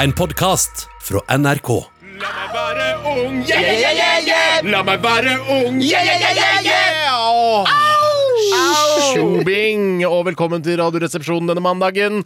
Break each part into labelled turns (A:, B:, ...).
A: En podkast fra NRK.
B: La meg være ung, yeah, yeah, yeah, yeah, yeah. La meg være ung, yeah, yeah, yeah, yeah, yeah. Åh. Tjobing, og velkommen til Radioresepsjonen denne mandagen.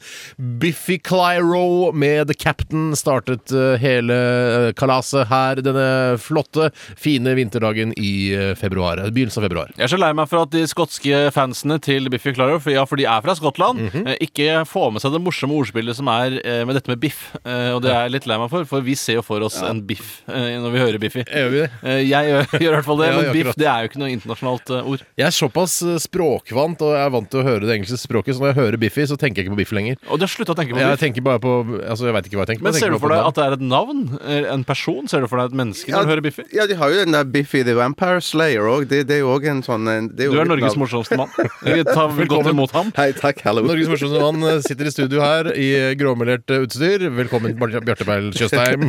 B: Biffy Clyro med The Captain startet eh, hele eh, kalaset her denne flotte, fine vinterdagen i eh, februar. Begynnelsen av februar.
C: Jeg er så lei meg for at de skotske fansene til Biffy Claro, for, ja, for de er fra Skottland,
B: Mhm.
C: eh, ikke får med seg det morsomme ordspillet som er eh, med dette med biff. Eh, og det er jeg litt lei meg for, for vi ser jo for oss en biff eh, når vi hører Biffy.
B: Gjør vi det?
C: Eh, jeg gjør, gjør i hvert fall det,
B: Ja,
C: men
B: ja,
C: biff
B: akkurat.
C: det er jo ikke noe internasjonalt eh, ord.
B: Jeg er såpass eh, språkvant, og jeg er vant til å høre det engelske språket, så når jeg hører Biffy, så tenker jeg ikke på Biffy lenger.
C: Og de har slutta å tenke på
B: Jeg
C: biff.
B: tenker bare på Altså, jeg veit ikke hva jeg tenker på.
C: Men
B: Jeg
C: ser
B: tenker bare
C: du for
B: på
C: deg
B: navn.
C: at det er et navn? Eh, En person? Ser du for deg et menneske når du hører Biffy?
D: Ja, de har jo den der Biffy the Vampire Slayer òg. Det, det er jo òg en sånn en- det er jo
C: Du er
D: litt
C: Norges
D: navn.
C: morsomste mann. Vi tar vel godt
B: Velkommen.
C: imot ham.
D: Hei, takk. Hallo.
B: Norges morsomste mann eh, sitter i studio her i gråmelert eh, utstyr. Velkommen, Bar- Bjarte Beil Tjøstheim.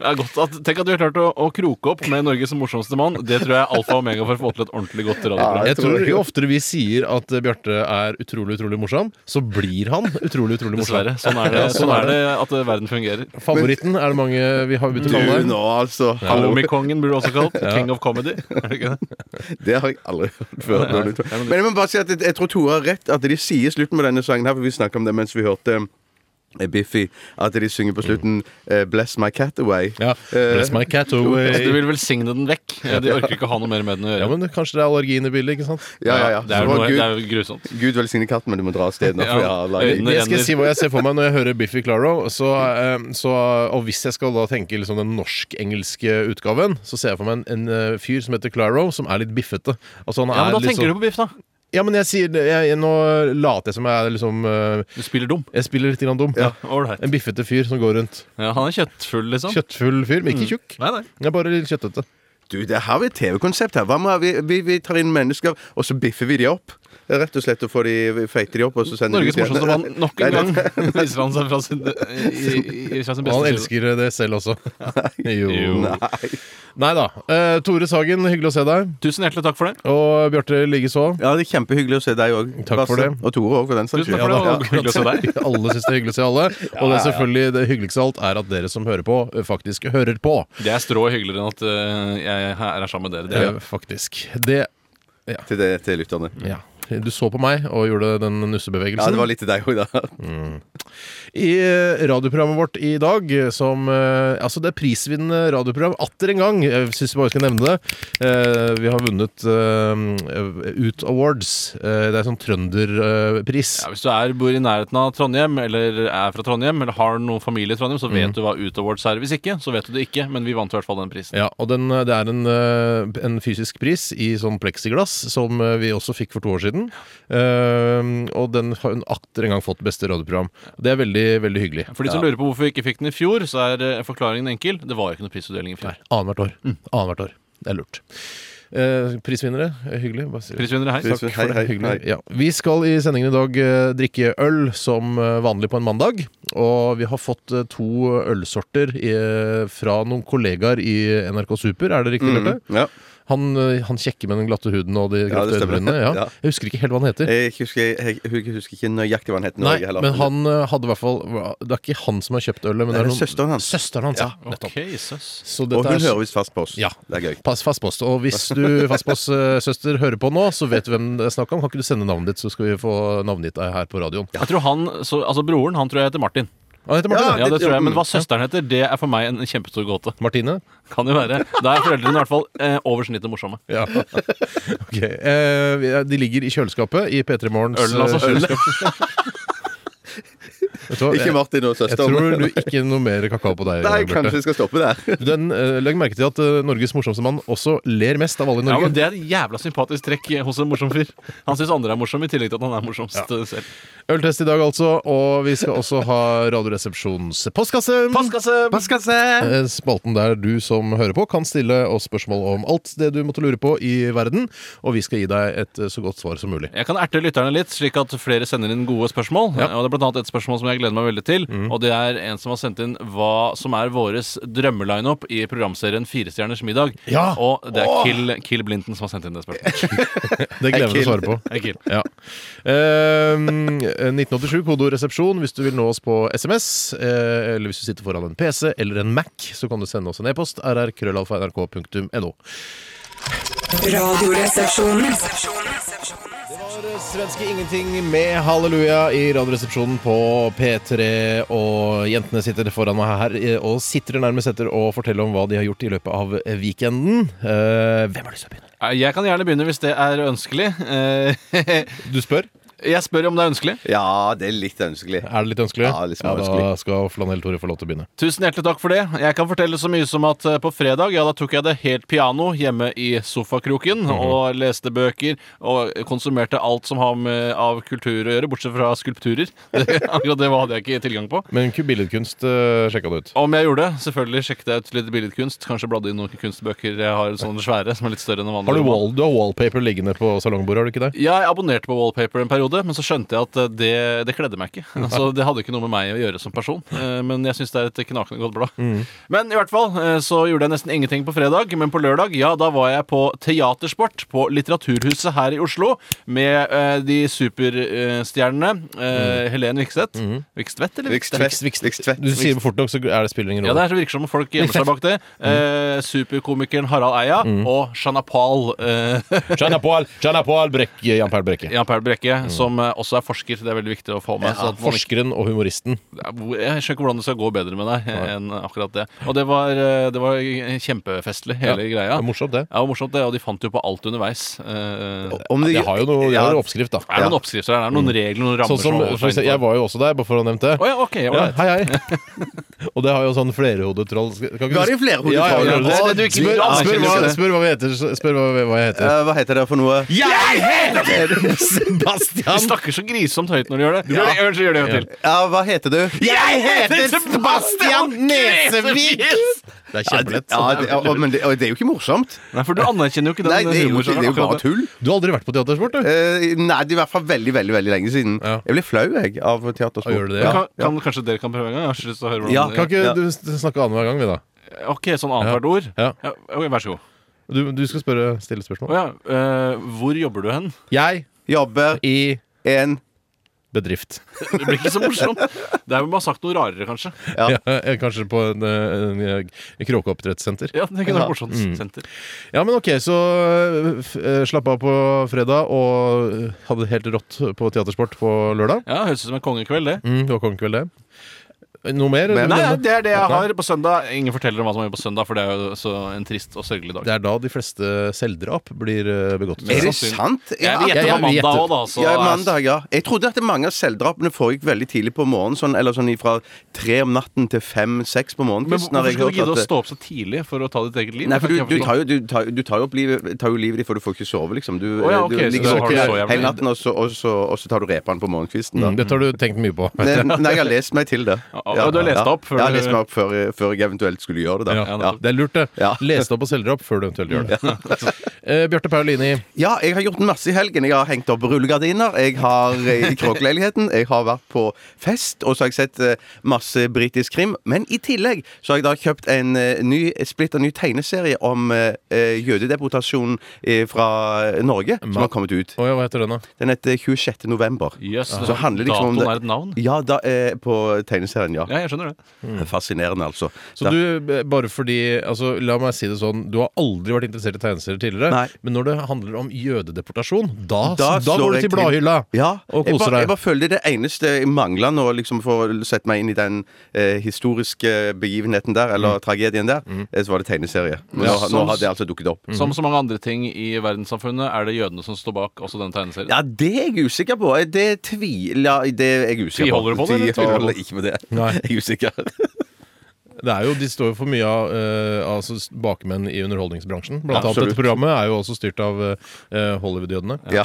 C: Det er godt at, tenk at du har klart å, å kroke opp med Norges morsomste mann. Det tror jeg er alfa og omega for å få til et ordentlig godt radioprogram.
B: Jeg
D: Jeg
B: tror
D: tror
B: jo oftere vi sier at eh, Bjarte er utrolig, utrolig morsom, så blir han utrolig, utrolig morsom.
C: Dessverre. Sånn er det,
B: Ja, sånn
C: sånn
B: er
C: er det at eh, verden fungerer.
B: Favoritten er det mange vi har begynt å kalle
D: Du
B: deg.
D: nå, altså. Hallo.
C: Komikongen blir du også kalt. King of comedy. Er det ikke det?
D: Det har jeg aldri hørt før. Men jeg må bare si at jeg, jeg tror Tore har rett, at de sier i slutten på denne sangen her, for vi snakket om det mens vi hørte eh, Biffy, at de synger på
C: Mm.
D: slutten eh, 'Bless my cat away'.
B: Ja. Bless my cat away.
C: Så altså, du vil velsigne den vekk. Eh, De orker ikke å ha noe mer med den å
B: Ja,
C: gjøre.
B: men kanskje det er allergien i bildet, ikke sant?
D: Ja, ja, ja.
C: Det er
D: Så
C: jo,
D: bare
C: noe, det
D: Gud,
C: er jo grusomt.
D: Gud velsigne katten, men du må dra av sted nå. for jeg har laget-
C: øynene
B: Jeg skal
C: renner.
B: si hva jeg ser for meg når jeg hører Biffy Claro. Så, eh, så, og hvis jeg skal da tenke liksom den norsk-engelske utgaven, så ser jeg for meg en, en eh, fyr som heter Claro, som er litt biffete. Altså, han
C: Ja, men
B: er
C: Da
B: litt
C: tenker
B: sånn,
C: du på biff, da.
B: Ja, men jeg sier det- jeg, Nå later jeg som jeg er liksom eh,
C: Du spiller dum.
B: Jeg spiller litt grann dum.
C: Ålreit.
B: En biffete fyr som går rundt.
C: Ja, han er kjøttfull, liksom.
B: Kjøttfull fyr, men ikke tjukk.
C: Nei, nei.
B: Jeg er bare litt kjøttete.
D: Du, det har vi et TV-konsept her. Hva med, vi, vi, vi tar inn mennesker, og så biffer vi de opp. Rett og slett, og får de, feiter de opp, og så sender
C: Norges
D: de ut igjen.
C: morsomste mann nok en
D: Nei,
C: gang viser han seg fra sin, i, i, fra
B: Og han
C: sin beste side.
B: elsker det selv også. Jo.
C: Jo.
D: Nei.
B: Nei da. Eh, Tore Sagen, hyggelig å se deg.
C: Tusen hjertelig takk for det.
B: Og Bjarte likeså.
D: Ja, det er kjempehyggelig å se deg òg.
B: Takk for det.
D: Og Tore òg, for den saks
C: Tusen
D: skyld.
C: takk for det, og hyggelig å se deg.
B: Alle syns det er hyggelig å se alle. Og det er selvfølgelig det hyggeligste av alt er at dere som hører på, ø, faktisk hører på.
C: Det er strå hyggeligere enn at eh, jeg her er sammen med dere. Det er
B: Ø, Eh, Faktisk. Det
D: Til, det, til lytterne.
B: Ja. Du så på meg og gjorde den
D: Ja,
B: nussebevegelsen.
D: det var litt til deg òg, da.
B: I ø, radioprogrammet vårt i dag, ø, som ø, Altså, det er prisvinnende radioprogram atter en gang. Jeg syns vi bare skal nevne det. Eh, Vi har vunnet ø, Ut Awards. Eh, Det er sånn trønderpris.
C: Ja, hvis du er, bor i nærheten av Trondheim, eller er fra Trondheim, eller har noen familie i Trondheim, så vet du hva Ut Awards er. Hvis ikke, så vet du det ikke, men vi vant i hvert fall den prisen.
B: Ja, og den, det er en, eh, en fysisk pris i sånn pleksiglass, som eh, vi også fikk for to år siden. Eh, og den har hun atter en gang fått beste radioprogram. Det er veldig, veldig hyggelig.
C: For de som lurer på hvorfor vi ikke fikk den i fjor, så er eh, forklaringen enkel. Det var jo ikke noe prisutdeling i fjor.
B: Annethvert år. Annethvert år. Det er lurt. Eh, prisvinnere, eh, hyggelig. Bare si-
C: Prisvinnere her.
D: Prisvin-
B: Takk for
D: Hei,
B: det.
D: hei,
B: Hyggelig.
D: hei.
B: Ja. Vi skal i sendingen i dag eh, drikke øl som eh, vanlig på en mandag. Og vi har fått eh, to ølsorter i, eh, fra noen kollegaer i NRK Super, er det riktig, Bjarte?
D: Mm. Ja.
B: Han, eh, han kjekke med den glatte huden og de
D: Ja,
B: glatte
D: det stemmer.
B: øyenbrynene. Mhm. Ja.
D: Ja.
B: Jeg husker ikke helt hva han heter.
D: Jeg husker, jeg, jeg husker ikke nøyaktig hva han het. nå,
B: Nei,
D: jeg heller.
B: men han eh, hadde i hvert fall Det er ikke han som har kjøpt ølet, men
D: Nei,
B: det er
D: det er søsteren hans.
B: Søsteren hans, ja.
C: Ok,
B: Nettopp.
C: søs.
B: Så
D: Og
B: dette
D: hun
B: er
D: hører visst fast på oss.
B: Ja.
D: Det er gøy.
B: Pass fastpost. Og hvis du fastpostsøster hører på nå, så vet du hvem det er snakk om. Kan ikke du sende navnet ditt, så skal vi få navnet ditt her på radioen.
C: Jeg tror han, så, altså Broren han tror jeg heter Martin.
B: Han heter Martine.
C: Ja, det tror jeg, Men
D: mm.
C: hva søsteren heter, det er for meg en kjempestor gåte.
B: Martine?
C: Kan jo være. Da er foreldrene i hvert fall eh, over snittet morsomme.
B: Ja. Ok. Eh, vi- de ligger i kjøleskapet i P3 Morgens eh,
C: Ølen, altså.
D: Ikke Martin og
B: Jeg
D: søsteren.
B: tror du ikke noe mer kakao på deg.
D: Nei,
B: Bjarte.
D: kanskje vi skal stoppe der.
B: Den, eh, legg merke til at eh, Norges morsomste mann også ler mest av alle i
C: Ja,
B: Norge.
C: men Det er et jævla sympatisk trekk hos en morsom fyr. Han syns andre er morsomme, i tillegg til at han er morsomst eh, selv.
B: Øltest i dag, altså. Og vi skal også ha Radioresepsjons postkasse. Eh, Spalten der du som hører på, kan stille oss spørsmål om alt det du måtte lure på i verden. Og vi skal gi deg et eh, så godt svar som mulig.
C: Jeg kan erte lytterne litt, slik at flere sender inn gode spørsmål.
B: Ja. Mm.
C: Og det er blant annet et spørsmål som jeg jeg gleder meg veldig til. Og det er en som har sendt inn hva som er våres drømmelineup i programserien Firestjerners middag.
B: Ja!
C: Og det er Kill, Kill Blinton som har sendt inn det spørsmålet.
B: Det gleder jeg meg til å svare på.
C: Hey, Kill.
B: Ja. Ehm, 1987, kodeord resepsjon. Hvis du vil nå oss på SMS, eh, eller hvis du sitter foran en PC eller en Mac, så kan du sende oss en e-post. rrkrøllalfa.nrk.no.
E: Radioresepsjonen.
B: Svenske ingenting med halleluja i Radioresepsjonen på P3. Og jentene sitter foran meg her eh, og sitrer nærmest etter å fortelle om hva de har gjort i løpet av weekenden. Eh, hvem har lyst til å begynne?
C: Eh, Jeg kan gjerne begynne hvis det er ønskelig. Eh,
B: Du spør?
C: Jeg spør om det er ønskelig.
D: Ja, det er litt ønskelig.
B: Er det litt ønskelig?
D: Ja, litt
B: ja, da
D: ønskelig.
B: skal Flanell Tore få lov til å begynne.
C: Tusen hjertelig takk for det. Jeg kan fortelle så mye som at eh, på fredag ja, da tok jeg det helt piano hjemme i sofakroken
B: Mhm.
C: og leste bøker og konsumerte alt som har med av kultur å gjøre, bortsett fra skulpturer. Det- Akkurat det hadde jeg ikke tilgang på.
B: Men ku- billedkunst uh, sjekka du ut.
C: Om jeg gjorde det, selvfølgelig sjekket jeg ut litt billedkunst. Kanskje bladde i noen kunstbøker jeg har sånne svære, som er litt større enn vanlige.
B: Har du, wall, du har wallpaper liggende på salongbordet, har du ikke det?
C: Ja, jeg abonnerte på Wallpaper en periode, men så skjønte jeg at eh, det, det kledde meg ikke. Altså, det hadde ikke noe med meg å gjøre som person, eh, men jeg syns det er et knakende godt blad. Men i hvert fall eh, så gjorde jeg nesten ingenting på fredag, men på lørdag ja, da var jeg på Teatersport på Litteraturhuset her i Oslo med eh, de superstjernene eh, Helen Vikstvedt Vikstvedt, eller?
D: Vikstvedt. Vikstvedt.
B: Du sier det fort nok, så er det spiller ingen
C: Ja,
B: rolle.
C: det er så virker som om folk gjemmer seg bak det. Eh, superkomikeren Harald Eia og Shana Pahl. Eh,
B: Jean Paul, Jean Paul Brekke, Jan Perl Brekke.
C: Jan Paul Brekke, som eh, også er forsker. Det er veldig viktig å få med. så
B: Mm. Ja,
C: at man ikke-
B: forskeren og humoristen.
C: Ja, hvor- Jeg skjønner ikke hvordan det skal gå bedre med deg enn akkurat det. Og det var, eh, det var kjempefestlig, hele
B: Det
C: greia.
B: er morsomt, det.
C: Ja, det var morsomt det, og de fant jo på alt underveis. Eh,
D: Om
B: Det har jo noe, det har jo oppskrift, da.
C: Det er noen oppskrifter, det er noen regler, noen rammer
B: Sånn som,
C: holder
B: for
C: seg
B: eksempel, jeg
C: innenfor.
B: var jo også der, bare for å ha nevnt det.
C: Å ja, ok, all
B: Ja,
C: right.
B: hei, hei. Og det har jo sånn flerehodet troll Kan ikke
D: Ga de
B: du-
D: flerehodet
B: Ja, ja,
D: troll?
B: ja.
C: Det er det du ikke vil
B: Spør-
C: anerkjenne,
B: spør hva-
C: ikke det?
B: Spør hva vi heter. Spør hva hva jeg heter.
D: Eh, Hva heter det for noe?
B: Jeg heter
C: De
B: Sebastian!
C: snakker så grisomt høyt når de gjør det. Gjør det, gjør det, gjør det en gang til.
D: Ja, hva heter du?
B: Jeg heter Sebastian Nesevik! Det er
D: Ja, det,
B: kjempelett.
D: ja, det, og, men det, og det er jo ikke morsomt.
C: Nei, for du anerkjenner jo ikke den
D: Nei, det er jo,
C: humoren
D: ikke,
C: som
D: det er jo
C: akkurat
D: bare
C: det.
D: tull.
B: Du har aldri vært på teatersport, du?
D: Eh, nei, det er i hvert fall veldig veldig, veldig lenge siden.
B: Ja.
D: Jeg ble flau jeg, av teatersport.
B: Ja, gjør du det?
C: Men
D: Ja.
C: Kan, kan, kanskje dere kan prøve en gang? Jeg har ikke lyst til å høre hvordan
D: Ja,
C: det-
B: Kan ikke
D: Ja.
B: du s- snakke annenhver gang, vi, da?
C: Ok, sånn annethvert ord?
B: Ja.
C: Ja, ok, vær så god.
B: Du, du skal spørre, stille spørsmål.
C: Å ja, eh, hvor jobber du hen?
B: Jeg
D: Jobber
B: i
D: en
B: bedrift.
C: Det blir ikke så morsomt. Det er jo man har sagt noe rarere, kanskje.
D: Ja.
B: Ja, kanskje på en, eh, en, en kråkeoppdrettssenter.
C: Ja, det kunne vært morsomt.
D: Mm.
C: Senter.
B: Ja, men ok, så øh, f- øh, slapp av på fredag og øh, hadde det helt rått på teatersport på lørdag.
C: Ja, Høres ut som en kongekveld, det.
B: Mm, det var kongekveld, det. Noe mer? eller?
C: Nei, ja,
B: det...
C: det er det jeg
B: Nei.
C: har på søndag. Ingen forteller om hva som er på søndag, for det er jo så en trist og sørgelig dag.
B: er da de fleste selvdrap blir øh, begått.
D: Er det
C: Sannsynlig.
D: sant?
C: Jeg vil
B: jeg-
C: gjette på
B: jeg
C: mandag
B: gjetter.
C: òg, da. Så
D: ja, mandag, ja. Jeg trodde at mange av selvdrapene foregikk veldig tidlig på morgenen. Sånn, eller sånn fra tre om natten til fem-seks på morgenen.
C: Men
D: Kristen, har
C: hvorfor
D: jeg
C: skal du
D: hørt
C: gidde å
D: at-
C: stå opp så tidlig for å ta ditt eget liv?
D: Nei, for
C: Det
D: du, du
C: kan ikke jeg
D: tar jo, du tar, du tar jo opp livet, tar jo livet ditt, for du får ikke sove, liksom. Du,
C: Å ja, ok,
D: du
C: så
D: ligger
C: da
D: våken
C: har du så jævlig-
D: hele natten, og så, og, så, og så tar du repaen på morgenkvisten. Da.
B: Mm, dette har du tenkt mye på.
D: Nei, nei, jeg har lest meg til det.
C: Ja, ja, du har lest det opp før
D: Ja, jeg har
C: du-
D: lest meg opp før, før jeg eventuelt skulle gjøre det.
B: Ja,
D: Da. Ja.
B: Det er lurt, det.
D: Ja.
B: Les deg opp på selvdrap før du eventuelt gjør det. Eh, Bjarte Paulini,
D: ja, jeg har gjort masse i helgen. Jeg har hengt opp rullegardiner. Jeg har eh, i kråkeleiligheten. Jeg har vært på fest, og så har jeg sett eh, masse britisk krim. Men i tillegg så har jeg da kjøpt en eh, ny, splitter ny tegneserie om eh, eh, jødedeportasjonen eh, fra Norge, som har kommet ut.
B: Å ja, hva heter den, da?
D: Den heter 26. november.
C: forstå. Jøss,
D: Så handler liksom om
C: datoen
D: det-
C: er et navn?
D: Ja, da, eh, på tegneserien, ja.
C: Ja, jeg skjønner det.
D: Fascinerende, altså.
B: Så
D: Da-
B: du, eh, bare fordi altså, La meg si det sånn, du har aldri vært interessert i tegneserier tidligere,
D: Nei.
B: men når det handler om jødedeportasjon, da, da,
D: Da slår
B: går du
D: jeg
B: til
D: til.
B: bladhylla
D: ja,
B: og
D: jeg
B: koser
D: bare, jeg
B: deg.
D: bare føler det eneste jeg mangler nå, liksom for å sette meg inn i den eh, historiske begivenheten der, eller tragedien der, eh, så var det tegneserie. Men
C: Mm. Ja,
D: nå,
C: sånn-
D: nå har det altså dukket opp.
C: Som så mange andre ting i verdenssamfunnet er det jødene som står bak også denne tegneserien.
D: Ja, det er jeg usikker på. Det tviler jeg Det er jeg usikker på.
C: Tviholder du på det,
D: Tviholder
C: eller tviler du på
D: ikke på det.
B: Nei.
D: Jeg er usikker.
B: Det er jo, De står jo for mye av eh, altså s- bakmenn i underholdningsbransjen. Blant
D: Ja,
B: annet dette
D: absolutt.
B: programmet er jo også styrt av eh, Hollywood-jødene.
D: Ja.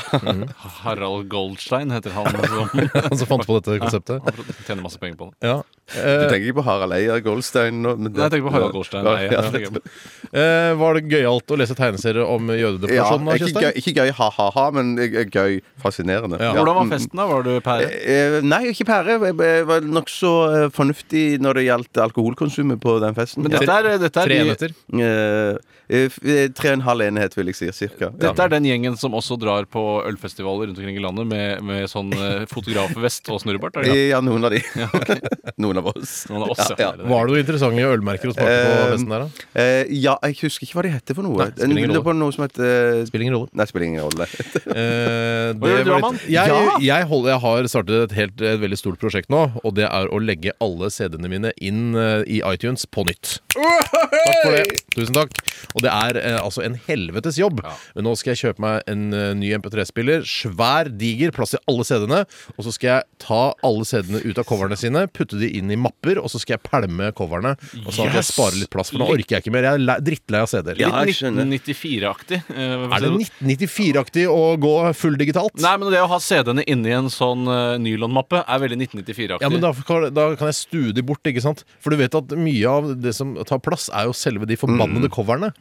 C: Harald Goldstein heter han. Som
B: Han som fant på dette konseptet.
C: tjener masse penger på det.
B: Ja.
D: Du
B: Eh,
D: tenker ikke på Harald Eia Goldstein? nå, men det-
C: Nei, jeg tenker på Harald Goldstein. Nei,
D: Ja,
C: jeg tenker på-
B: eh, var det gøyalt å lese tegneserier om
D: Ja,
B: jødedeportasjonen? da,
D: ikke,
B: Kjøstheim?
D: gøy, ikke gøy ha-ha-ha, men eh, gøy fascinerende. Ja.
C: Hvordan var
D: Mm.
C: festen, da? Var du pære?
D: Eh, eh, Nei, ikke pære. Jeg ble- jeg var nokså eh, fornuftig når det gjaldt alkoholkonsumet på den festen.
C: Men
D: Ja.
C: dette er, dette er
B: Tre
C: de-
B: enheter.
D: Eh, eh, f- eh, Tre og en halv enhet, vil jeg si. Cirka. Ja.
C: Dette er den gjengen som også drar på ølfestivaler rundt omkring i landet med, med sånn eh, fotografvest og snurrebart? er det ikke?
D: Eh, Ja, noen av de. Noen av oss.
C: Noen av oss, ja.
D: Ja,
C: Det er det.
B: Var det noen interessante ølmerker å smake på
D: Eh,
B: festen der, da?
D: Eh, ja, jeg husker ikke hva de heter for noe.
B: Nei, spiller ingen
D: Det var noe som het eh,
B: Spiller ingen rolle.
D: Nei, spiller ingen rolle.
B: Eh, det
C: gjør du,
B: var
C: Amand?
B: litt- jeg,
D: Ja!
B: jeg, holder, jeg har startet et helt et veldig stort prosjekt nå, og det er å legge alle CD-ene mine inn eh, i iTunes på nytt. Takk for det. Tusen takk. Og det er eh, altså en helvetes jobb. Men nå skal jeg kjøpe meg en eh, ny MP3-spiller. Svær, diger, plass til alle CD-ene. Og så skal jeg ta alle CD-ene ut av coverne sine, putte de inn i mapper, og så skal jeg pælme coverne. Og sånn at jeg
C: Yes!
B: sparer litt plass, for nå orker jeg ikke mer. Jeg er le- drittlei av CD-er.
D: Ja, jeg
C: Litt
D: skjønner.
C: 1994-aktig.
B: Er det 1994-aktig å gå full digitalt?
C: Nei, men det å ha CD-ene inni en sånn eh, nylonmappe er veldig 1994-aktig.
B: Ja, men da, kan- da kan jeg stue de bort, ikke sant? For du vet at mye av det som tar plass, er jo selve de forbannede coverne.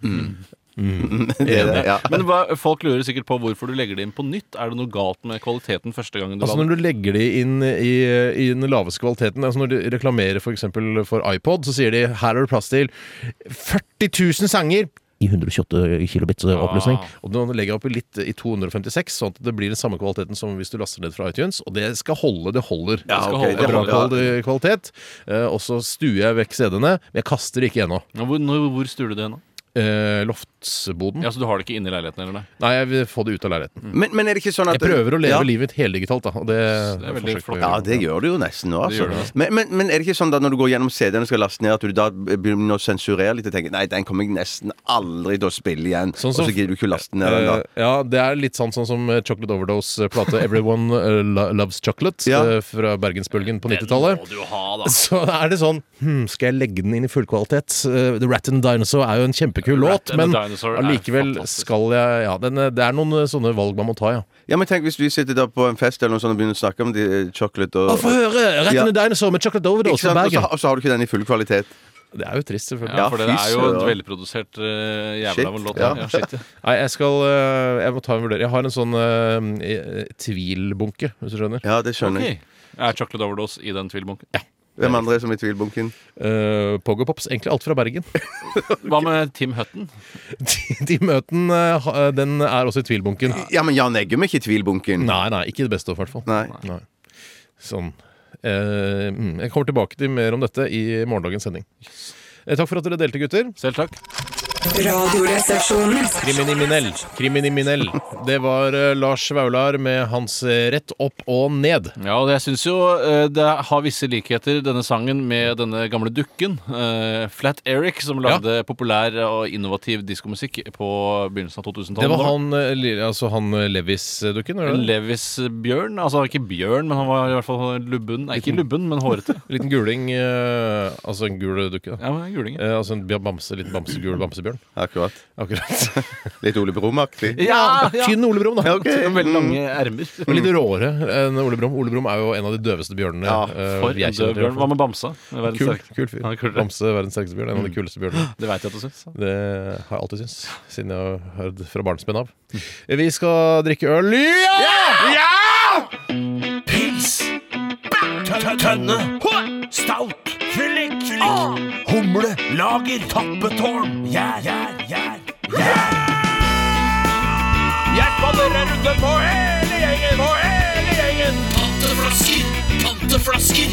D: Det er det, Eh, ja.
C: Men hva, folk lurer sikkert på hvorfor du legger det inn på nytt. Er det noe galt med kvaliteten første gangen du
B: Altså
C: la
B: Når du legger de inn i, i den laveste kvaliteten altså Når de reklamerer for, eksempel for iPod, så sier de 'her er det plass til 40 000 sanger'. I 128 kilobits oppløsning. Og nå legger jeg opp i litt i 256, sånn at det blir den samme kvaliteten som hvis du laster ned fra iTunes. Og det skal holde. Det holder.
C: Ja,
B: det skal
C: ok,
B: holde,
C: det
B: det
C: holder,
B: holder.
D: ja.
B: kvalitet. Eh, og så stuer jeg vekk CD-ene. Men jeg kaster det ikke ennå.
C: Ja, Hvor, når, hvor stuer du det nå?
B: Eh, loftsboden.
C: Ja, Så du har det ikke inni leiligheten, eller? nei?
B: Nei, jeg vil få det ut av leiligheten.
D: Men, men er det ikke sånn at
B: Jeg prøver å leve
D: ja.
B: livet mitt heldigitalt, da. Og det,
C: det er veldig
B: forsøker jeg
C: flott.
B: å gjøre.
D: Ja, det gjør du jo nesten nå, altså.
C: gjør du nesten.
D: Men, men, men er det ikke sånn da når du går gjennom CD-en og skal laste ned, at du da begynner å sensurere litt og tenker nei, den kommer jeg nesten aldri til å spille igjen,
B: Sånn som-
D: og så gidder du ikke laste ned den da?
B: Eh, ja, det er litt sånn, sånn som eh, Chocolate Overdose-plate Everyone eh, Lo- Loves Chocolate
D: Ja.
B: eh, fra Bergensbølgen på 90-tallet.
C: du ha,
B: Så er det sånn hmm, Skal jeg legge den inn i fullkvalitet? Eh, The Rat and the Dinosaur er jo en kjempekul
C: Rat
B: låt,
C: and the
B: men
C: Dinosaur er
B: allikevel
C: fantastisk.
B: skal jeg Ja, den, eh, det er noen eh, sånne valg man må ta, ja.
D: Ja, men tenk hvis vi sitter da på en fest eller noe sånt og begynner å snakke om de, eh, chocolate og
B: Å, få høre! Rat
D: Ja.
B: and the Dinosaur med Chocolate
D: Ikke
B: Overdose
D: sant?
B: fra
D: Og, så,
B: Bergen.
D: og så har du ikke den i full kvalitet.
B: Det er jo trist, selvfølgelig.
C: Ja,
D: Ja,
C: for det er
D: fy
C: jo en
D: søren.
C: velprodusert eh, jævla
D: Shit,
C: av en låt.
D: ja.
C: Ja. shit, ja.
B: Nei, jeg skal øh, Jeg må ta en vurdering. Jeg har en sånn øh, eh, tvilbunke, hvis du skjønner.
D: Ja, det skjønner jeg.
C: Ok. Er Chocolate Overdose i den tvilbunken?
D: Hvem andre er som i tvilbunken?
B: Uh, Pogopops. Egentlig alt fra Bergen.
C: Hva med Tim Hutton?
B: De, de møten, øh, ha- den er også i tvilbunken.
D: Ja, men Jan Eggum er ikke i tvilbunken.
B: Nei, nei, ikke det beste i hvert fall.
D: Nei.
B: Nei. Sånn. Eh, mm, jeg kommer tilbake til mer om dette i morgendagens sending. Eh, Takk for at dere delte, gutter.
C: Selv takk.
E: Radioresepsjonen.
B: Kriminell. Kriminell. Det var eh, Lars Vaular med hans eh, Rett opp og ned.
C: Ja, og jeg syns jo eh, det har visse likheter, denne sangen, med denne gamle dukken. eh, Flat Eric, som lagde populær og innovativ diskomusikk på begynnelsen av 2000-tallet.
B: Det var han, eh, li- altså han eh, Levis-dukken? var det det?
C: Levis Bjørn. Altså ikke bjørn, men han var i hvert fall lubben. Nei, ikke lubben, men hårete.
B: Liten guling, eh, altså en gul dukke. Da.
C: Ja, men guling.
B: Eh, altså en bia- bamse, litt bamsegul bamsebjørn.
D: Akkurat.
B: Akkurat.
D: Litt Ole Brumm-aktig.
C: Ja, ja.
B: Tynn Ole Brumm, da.
D: Ja, ok.
C: Veldig lange ermer.
B: Og litt råere enn Ole Brumm. Ole Brumm er jo en av de døveste bjørnene.
D: Ja,
B: eh,
C: For
B: jeg kjenner
C: en døv
B: til, i hvert
C: bjørn. Hva
B: fall.
C: med bamsa? Verdens
B: Kul,
C: sterkeste.
B: kul fyr.
C: Han er kulere.
B: Bamse, verdens sterkeste bjørn. En
C: Mm.
B: av de kuleste bjørnene.
C: Det veit jeg at du syns.
B: Det har jeg alltid syntes, siden jeg har hørt fra barnsben av.
C: Mm.
B: Eh, Vi skal drikke øl. Ja!
F: Pils. Tønne. Stout. Fyllik. Humle. Lager. Tappetårn. Gjær. Gjær. Gjær. Jeg faller en runde på hele gjengen, på hele gjengen. Tanteflasker, tanteflasker.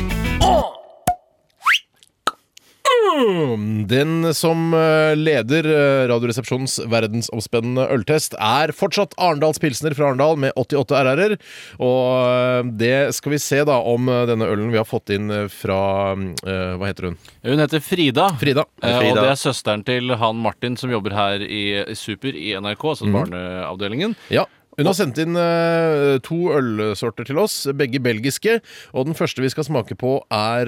B: Hmm. Den som eh, leder eh, Radioresepsjonens verdensomspennende øltest, er fortsatt Arendals Pilsner fra Arendal med 88 RR-er. Og eh, det skal vi se, da, om eh, denne ølen vi har fått inn eh, fra eh, Hva heter hun?
C: Hun heter Frida.
B: Frida.
C: Eh, Og
D: Frida.
C: det er
B: Mhm.
C: søsteren til han Martin som jobber her i i Super i NRK, altså barneavdelingen.
B: Ja. Hun har sendt inn eh, to ølsorter til oss, begge belgiske. Og den første vi skal smake på, er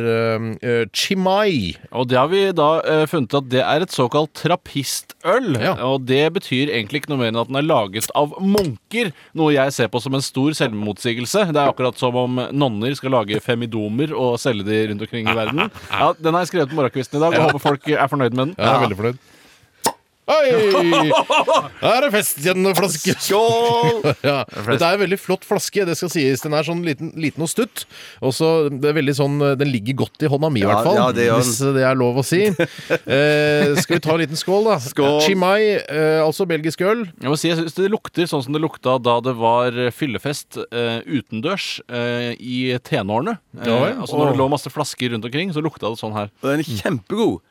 B: eh, Chimay.
C: Og det har vi da eh, funnet at det er et såkalt trappistøl.
B: Ja.
C: Og det betyr egentlig ikke noe mer enn at den er laget av munker. Noe jeg ser på som en stor selvmotsigelse. Det er akkurat som om nonner skal lage femidomer og selge de rundt omkring i verden. Ja, Den har jeg skrevet på morgenkvisten i dag, og håper folk er fornøyd med den.
B: Jeg er veldig fornøyd. Oi! Da er det fest gjennom flaske.
D: Skål!
B: Ja. Dette er en veldig flott flaske. det skal sies. Den er sånn liten, liten og stutt. Og så det er veldig sånn, Den ligger godt i hånda mi, i
D: Ja,
B: hvert fall.
D: ja, det gjør den.
B: hvis det er lov å si. Eh, skal vi ta en liten skål, da?
D: Skål.
B: Chimay, eh, altså belgisk øl.
C: Jeg må si, jeg synes det lukter sånn som det lukta da det var fyllefest eh, utendørs eh, i tenårene. Eh,
B: Ja, ja.
C: Altså
B: Åh.
C: når det lå masse flasker rundt omkring, så lukta det sånn her.
D: Den er kjempegod.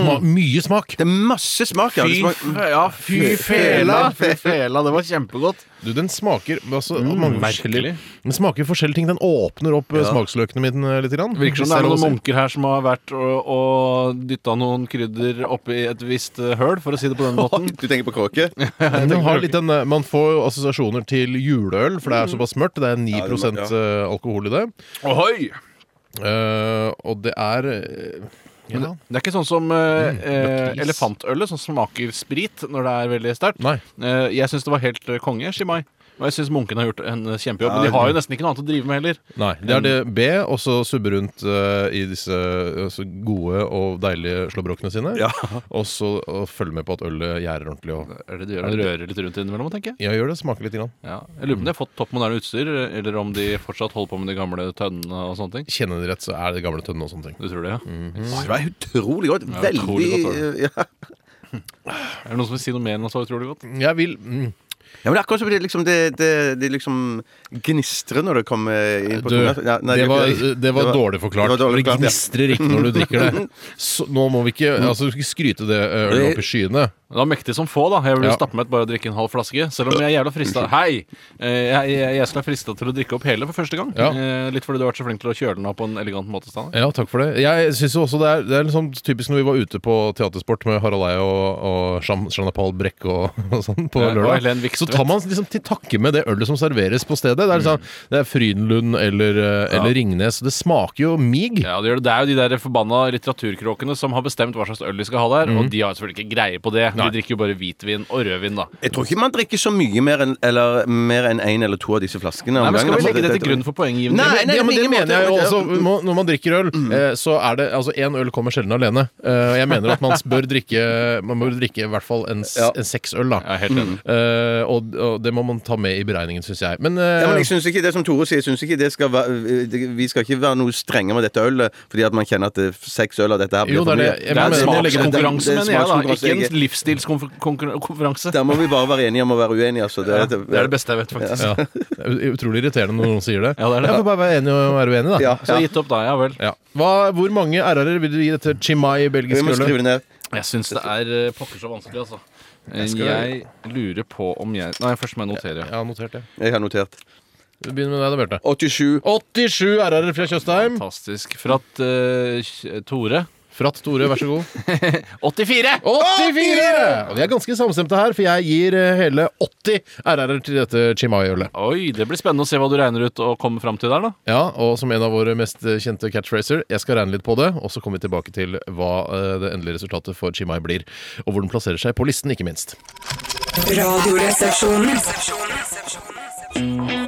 B: Sma mye smak.
D: Det er masse smak. ja. Det smaker-
C: ja, fy
D: fela.
C: Fy fela, det var kjempegodt.
B: Du, Den smaker altså, mange
C: merkelig.
B: forskjellige- Den smaker forskjellige ting. Den åpner opp eh, smaksløkene mine litt. Grann.
C: Virker
B: Hvis
C: som det er
B: lov å
C: noen
B: si.
C: munker her som har vært og, og dytta noen krydder oppi et visst eh, høl, for å si det på den måten.
D: Du tenker på kråke?
B: Men den har litt den, eh, man får jo assosiasjoner til juleøl, for det er såpass mørkt. Det er 9
D: Ja, det må-
B: eh, alkohol i det.
C: Ohoi!
B: Eh, og det er eh, ja.
C: Det er ikke sånn som eh,
D: Mm,
C: eh,
B: lakris.
C: elefantølet, som smaker sprit når det er veldig sterkt.
B: Nei.
C: Eh, jeg syns det var helt eh, konge, Shimai. Og jeg syns munkene har gjort en eh, kjempejobb. Men de har jo nesten ikke noe annet å drive med heller.
B: Nei, det er det B, og så subbe rundt eh, i disse eh, så gode og deilige slåbrokene sine.
D: Ja.
B: Og så og følge med på at ølet gjærer ordentlig. Og,
C: Er det de gjør? Rører litt rundt innimellom, tenker jeg.
B: ja, gjør det. Smaker litt. Grann.
C: Ja. Jeg lurer på om de har fått topp moderne utstyr, eller om de fortsatt holder på med de gamle tønnene og sånne ting.
B: Kjenner de rett, så er det gamle tønne og sånne ting.
C: Du tror det, ja?
D: Det var utrolig godt.
C: Ja,
D: Veldig eh,
C: utrolig godt,
D: ja.
C: Er det noen som vil si noe mer enn så utrolig godt?
B: Jeg vil mm,
D: ja, men det er akkurat som det liksom, det, det, det liksom gnistrer når det kommer inn på
B: du,
D: tunga. Ja, nei,
B: det, var,
D: gjør ikke
B: det, var dårlig forklart.
D: Det var dårlig forklart, ja.
B: gnistrer ikke når du drikker det. Så, nå må vi ikke, altså, du skal ikke skryte det eh, ølet opp i skyene.
C: Det var mektig som få, da. Jeg ville
B: Ja.
C: stappe meg et bare å drikke en halv flaske. Selv om jeg er jævla frista Hei! Eh, Jeg, jeg, jeg skulle være frista til å drikke opp hele for første gang.
B: Ja.
C: Eh, Litt fordi du har vært så flink til å kjøle den av på en elegant måte. Stanley.
B: Ja, takk for det. Jeg synes jo også Det er, det er liksom typisk når vi var ute på teatersport med Harald Eie og, og Jean- Jean-Paul Brekke og, og sånn på
C: Ja, og
B: lørdag.
C: Helen Vikstvedt. Mm.
B: så tar man liksom til takke med det ølet som serveres på stedet. Det er, liksom, det er Frydenlund eller, eh, eller Ringnes. Det smaker jo mig.
C: Ja, det, gjør det. det er jo de der forbanna litteraturkråkene som har bestemt hva slags øl de skal ha der, og de har selvfølgelig ikke greie på det. De drikker jo bare hvitvin og rødvin, da.
D: Jeg tror ikke man drikker så mye mer enn eller, mer enn en eller to av disse flaskene. om
C: Nei, men
D: gangen,
C: Skal vi
D: altså.
C: legge det til grunn for poenggivningen?
D: Nei, nei,
B: ja, men
D: på
B: Det
D: ingen
B: mener jeg jo
D: måte. Mm.
B: også. Må- Når man drikker øl, eh, så er det Altså, én øl kommer sjelden alene. Eh, Jeg mener at man bør drikke Man bør drikke i hvert fall en, s-
D: Ja.
B: en seks øl, da.
C: Jeg er helt enig.
B: Eh, og, og det må man ta med i beregningen, syns jeg. Men, eh,
D: Ja, men jeg synes ikke, det som Tore sier, jeg synes ikke det skal være, det- vi skal ikke være noe strenge med dette ølet, fordi at man kjenner at det- seks øl av dette her blir
B: Jo, det
D: for
B: er
D: mye.
B: det.
C: Det
B: Jeg
C: er en
B: mener-
D: det- det- det-
C: smakskonkurranse,
D: det er
C: mener jeg, da.
D: smakskonkurranse. Jeg-
C: Ikke en livsstilskonkurranse.
D: Der må vi bare være enige om å være uenige. Altså. Det, det,
C: Det er det beste jeg vet, faktisk.
B: Ja. Det er ut- utrolig irriterende når noen sier det.
C: Ja, det er det.
B: Jeg får bare være enig og være uenig, da.
D: Ja,
C: Så
D: ja.
C: gitt opp, da. Ja vel.
B: Ja. Hva, hvor mange RR-er vil du gi dette Chimay
D: Vi må
B: belgiske ølet?
D: skrive det ned.
C: Jeg syns det er eh, pokker så vanskelig, altså. Jeg, lurer på om jeg Nei, først må jeg notere.
B: Ja, notert det.
D: Jeg har notert.
B: Vi begynner med deg da, Bjarte.
D: 87.
B: 87 RR-er fra Tjøstheim.
C: Fantastisk. Fra at eh, Tore
B: Fratt Tore, vær så god.
C: 84!
B: 84! Og vi er ganske samstemte her, for jeg gir eh, hele 80 RR-er til dette Chimay-ølet.
C: Oi, det blir spennende å se hva du regner ut og kommer fram til der, da.
B: Ja, og som en av våre mest eh, kjente catchphraser, jeg skal regne litt på det, og så kommer vi tilbake til hva eh, det endelige resultatet for Chimay blir, og hvor den plasserer seg på listen, ikke minst.
E: Radioresepsjonen.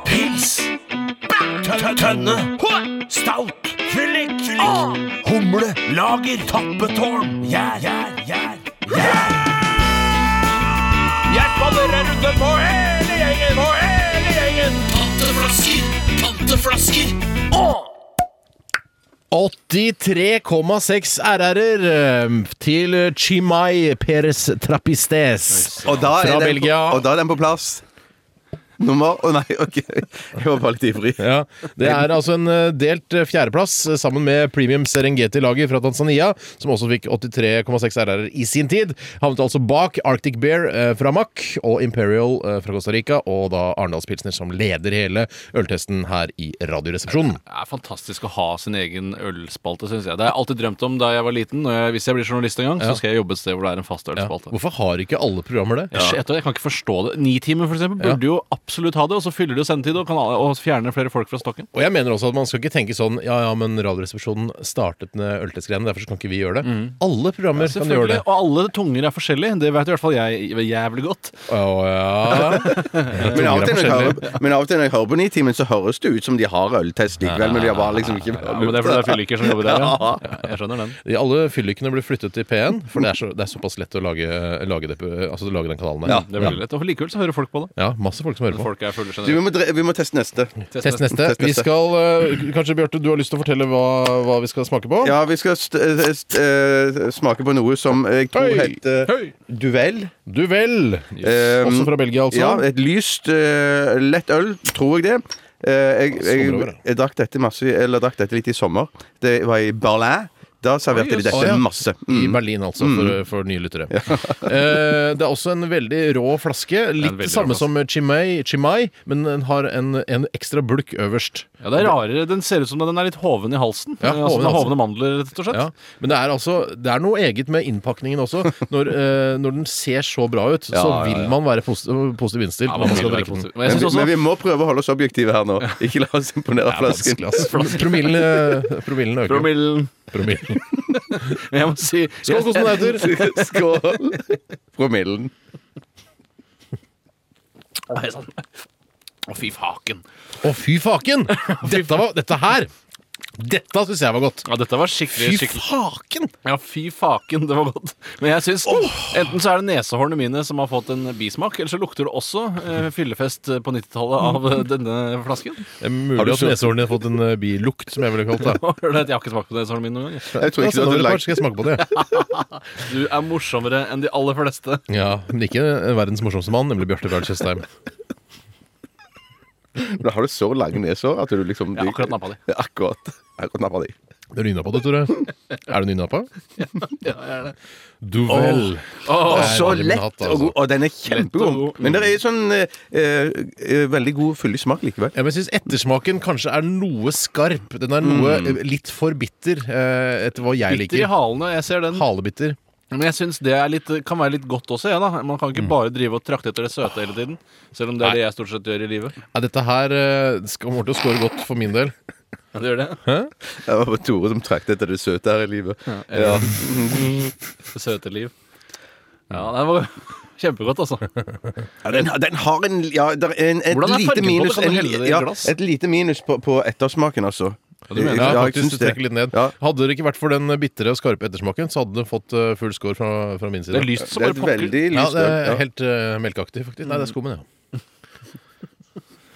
F: Pils. Tønne. Stout. Fyllik. Humle. Lager. Tappetårn. Gjær. Gjær. Gjær. Jeg spaller en runde på hele gjengen, på hele gjengen. Panteflasker, panteflasker.
B: 83,6 RR-er eh, til Chimay Peres Trapistes
D: Og da,
B: fra
D: er den,
B: Belgia.
D: og da er den på plass. nummer Å nei, OK. Jeg var bare litt ivrig.
B: Ja, Det er altså en eh, delt eh, fjerdeplass eh, sammen med Premium Serengeti-laget fra Tanzania, som også fikk 83,6 RR i sin tid. Havnet altså bak Arctic Bear eh, fra Mack og Imperial eh, fra Costa Rica, og da Arendalspilsner som leder hele øltesten her i Radioresepsjonen.
C: Det er fantastisk å ha sin egen ølspalte, syns jeg. Det har jeg alltid drømt om da jeg var liten. Når jeg, hvis jeg blir journalist en gang, så skal jeg jobbe et sted hvor det er en fast
B: Ja.
C: ølspalte.
B: Hvorfor har ikke alle programmer det?
C: Jeg skj- Jeg kan ikke forstå det. Nitimen for eksempel, burde jo absolutt ha det, og så fyller du sendetid og, kan, og fjerner flere folk fra stokken.
B: Og jeg mener også at man skal ikke tenke sånn Ja, ja, men Radioresepsjonen startet med øltestgreiene, derfor så kan ikke vi gjøre det. Alle programmer kan gjøre
C: Selvfølgelig,
B: det.
C: Og alle tunger er forskjellige. Det vet i hvert fall jeg jævlig godt.
B: Å ja.
D: Men av, og til når jeg
B: forskjellig.
D: hører, men av og til når jeg hører på Nitimen, så høres det ut som de har øltest likevel, men de har bare liksom ikke
C: Ja, men det er fordi det er fylliker som jobber der, ja. ja. Jeg skjønner den.
B: De alle fyllikene blir flyttet til P1, for det er, så, det er såpass lett å lage, lage, det, altså, lage den kanalen der.
C: Det er veldig lett. Og likevel så hører folk på det.
B: Ja, masse folk som hører på.
C: Folk er fulle
D: Du, vi,
C: generelt.
D: må dre vi må teste neste.
B: Test neste.
D: Test neste.
B: Vi skal, eh, Kanskje Bjarte, du har lyst til å fortelle hva, hva vi skal smake på?
D: Ja, vi skal st st eh, smake på noe som jeg tror
B: Høy!
D: heter
B: Høy!
D: Duell.
B: Du vel!
D: Eh,
B: Også fra Belgia, altså.
D: Ja, et lyst, eh, lett øl, tror jeg det. Eh, jeg, jeg,
B: Sommerøl,
D: jeg,
B: ja.
D: drakk dette masse, eller drakk dette litt i sommer. Det var i Berlin. Da serverte
C: Oi,
D: de
C: jøss.
B: Å,
D: dette
B: ja.
D: masse.
B: I
D: Mm.
B: Berlin, altså, for, for nye lyttere. Eh, det er også en veldig rå flaske. Litt
C: veldig
B: det
C: rå
B: samme
C: flaske.
B: som Chimay, Chimay men den har en, en ekstra bulk øverst.
C: Ja, det er rarere. Den ser ut som den er litt hoven i halsen.
B: Ja,
C: Eh,
B: hoven i
C: altså, den har
B: halsen.
C: hovne mandler, rett og slett.
B: Ja, men det er altså Det er noe eget med innpakningen også. Når, eh, når den ser så bra ut, så
D: Ja, ja, ja.
B: vil man være positiv, positiv innstilt.
C: Ja,
B: når
C: man
B: man
C: vil
B: skal
C: være
B: drikke den.
C: positiv. Men jeg
D: Men,
C: synes
D: vi,
C: også
D: men vi må prøve å holde oss objektive her nå. Ikke la oss imponere av flasken.
B: Vanskelig, ass. Promillen, eh, promillen øker.
C: Promillen.
B: Promillen.
C: Jeg må si
B: Skål, kosmonauter!
D: Skål. Promillen.
C: Nei, sånn. Å, fy faken.
B: Å, fy faken! Dette, var, dette her Dette syns jeg var godt.
C: Ja, dette var
B: Fy
C: skikkelig, skikkelig
B: faken!
C: Ja, fy faken, det var godt. Men jeg syns enten så er det nesehårene mine som har fått en bismak, eller så lukter det også eh, fyllefest på 90-tallet av eh, denne flasken.
B: Det er mulig
D: Har du
B: at
D: så-
B: nesehårene har fått en eh, bilukt, som jeg ville kalt det.
C: Og hør det, Jeg har ikke smakt på nesehårene mine noen gang.
D: Jeg tror
B: Ja,
D: ikke
B: send over
D: du hadde
B: et par,
D: lagt
B: skal jeg smake på det.
C: Du er morsommere enn de aller fleste.
B: Ja, Men ikke eh, verdens morsomste mann, nemlig Bjarte Bjørn Tjøstheim.
D: Da har du så lange nesår at du liksom
C: Jeg har akkurat nappa de.
D: Ja, Akkurat, akkurat nappa de.
B: Du er nynappa, du, Tore. Er du nynappa? Du vel.
C: Å,
D: Og
B: er
D: så
B: veldig
D: lett
B: natt,
D: og god.
B: altså.
D: Og den er
C: Lett og
D: kjempegod.
C: god.
D: Men det er sånn eh, eh, eh, veldig god, fyldig smak likevel.
B: Ja, men jeg syns ettersmaken kanskje er noe skarp. Den er noe
D: Mm.
B: eh, litt for bitter, eh, etter hva jeg
C: bitter i
B: liker.
C: halene. Jeg ser den.
B: Halebitter.
C: Men jeg syns det er litt, kan være litt godt også, jeg, da. Man kan ikke bare drive og trakte etter det søte hele tiden. Selv om det er det jeg stort sett gjør i livet.
B: Ja, dette her eh, skal kommer til å score godt for min del.
C: Ja, det gjør det.
D: Det var bare Tore som trakk etter det søte her i livet. Ja.
C: Det søte liv. Ja, det var kjempegodt, altså.
D: Ja, den, har- den har en Ja, det er en, et
C: Hvordan er fargen på
D: lite
C: det?
D: minus
C: Kan du
D: en,
C: helle det i
D: ja,
C: glass?
D: Et lite minus på, på ettersmaken, altså. Ja,
C: du mener
B: Ja,
D: jeg
B: faktisk,
D: syns
B: du trekker litt ned.
D: Ja.
B: Hadde det ikke vært for den bitre og skarpe ettersmaken, så hadde det fått eh, full score fra, fra min
C: Det
B: side.
C: er lyst som
D: Det er
C: bare
D: et
C: pokker.
D: veldig
B: ja,
D: lyst
B: det
D: øl.
B: er
D: Ja.
B: helt eh, melkeaktig, faktisk. Nei, det er skummen, ja.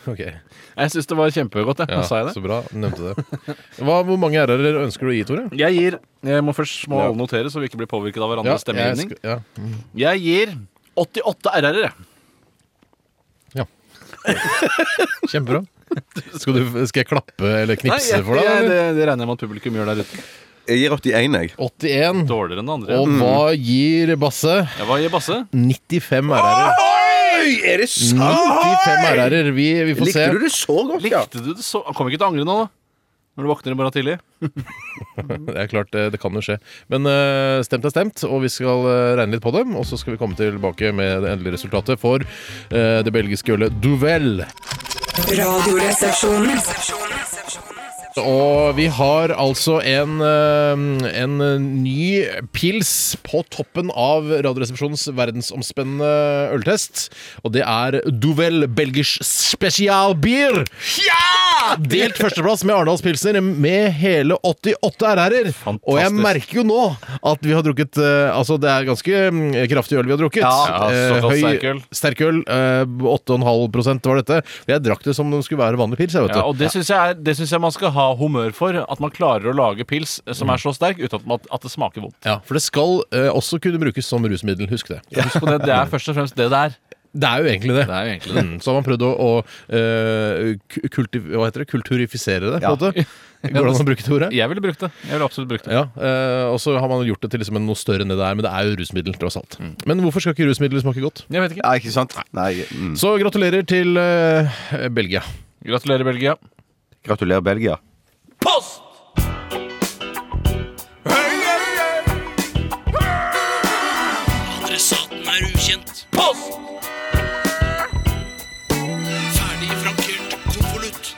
B: Ok,
C: Jeg syns det var kjempegodt, jeg.
B: ja,
C: Sa jeg det?
B: Så bra. Nevnte det. Hva, hvor mange RR-er ønsker du å gi, Tore?
C: Jeg gir Jeg må først må alle notere, så vi ikke blir påvirket av hverandres
B: jeg
C: stemmegivning.
B: sk- ja.
C: Jeg gir 88 RR-er. jeg.
B: Kjempebra. Skal, du, skal jeg klappe eller
C: Nei,
B: knipse
C: jeg-
B: for deg?
C: jeg-
B: eller?
C: Det, det regner jeg med at publikum gjør der ute.
D: Jeg gir 81, jeg.
B: 81.
C: Dårligere enn det andre.
B: Og hva gir Basse?
C: Jeg var i Basse.
B: 95 RR-er.
D: Oi! Er det
B: 95 RR-er. Vi, vi får se.
D: Ah! Likte du det så godt, ja?
C: Likte du det så Han kommer ikke til å angre nå, da. Når du våkner i morgen tidlig.
B: Det er klart, eh, det, det kan jo skje. Men eh, stemt er stemt, og vi skal eh, regne litt på dem. Og så skal vi komme tilbake med det endelige resultatet for eh, det belgiske ølet Duvel.
E: Radioresepsjonen.
B: Og vi har altså en, eh, en ny pils på toppen av Radioresepsjonens verdensomspennende øltest. Og det er Duvel Belgisch Specialbier. Delt førsteplass med Arendals Pilsner med hele 88 RR-er. Og jeg merker jo nå at vi har drukket eh, Altså, det er ganske mm, kraftig øl vi har drukket.
C: Ja,
B: Eh,
C: såkalt
B: høy-
C: sterk øl.
B: Sterk øl. eh, 8,5 var dette. Jeg drakk det som om det skulle være vanlig pils. Jeg vet
C: Ja,
B: du.
C: og det syns jeg, er- det synes jeg man skal ha humør for. At man klarer å lage pils eh,
B: Mm.
C: som er så sterk uten at, man- at det smaker vondt.
B: Ja, for det skal eh, også kunne brukes som rusmiddel, husk det.
C: Husk på det, det er først og fremst det det er.
B: Det er jo egentlig det.
C: Det er jo egentlig det.
B: Mm, Så har man prøvd å, å eh, ku- kultiv, hva heter det? kulturifisere det, på en måte. Går det an å bruke det ordet?
C: Jeg ville brukt det. Jeg ville absolutt brukt det.
B: Ja, eh, Og så har man gjort det til liksom noe større enn det det er, men det er jo rusmiddel, tross alt. Men hvorfor skal ikke rusmidler smake godt?
C: Jeg vet ikke.
D: Ja, ikke sant? Nei. Mm.
B: Så gratulerer til eh, Belgia.
C: Gratulerer, Belgia.
D: Gratulerer, Belgia.
F: Post! Adressaten er ukjent. Post! Ferdig frankert konvolutt.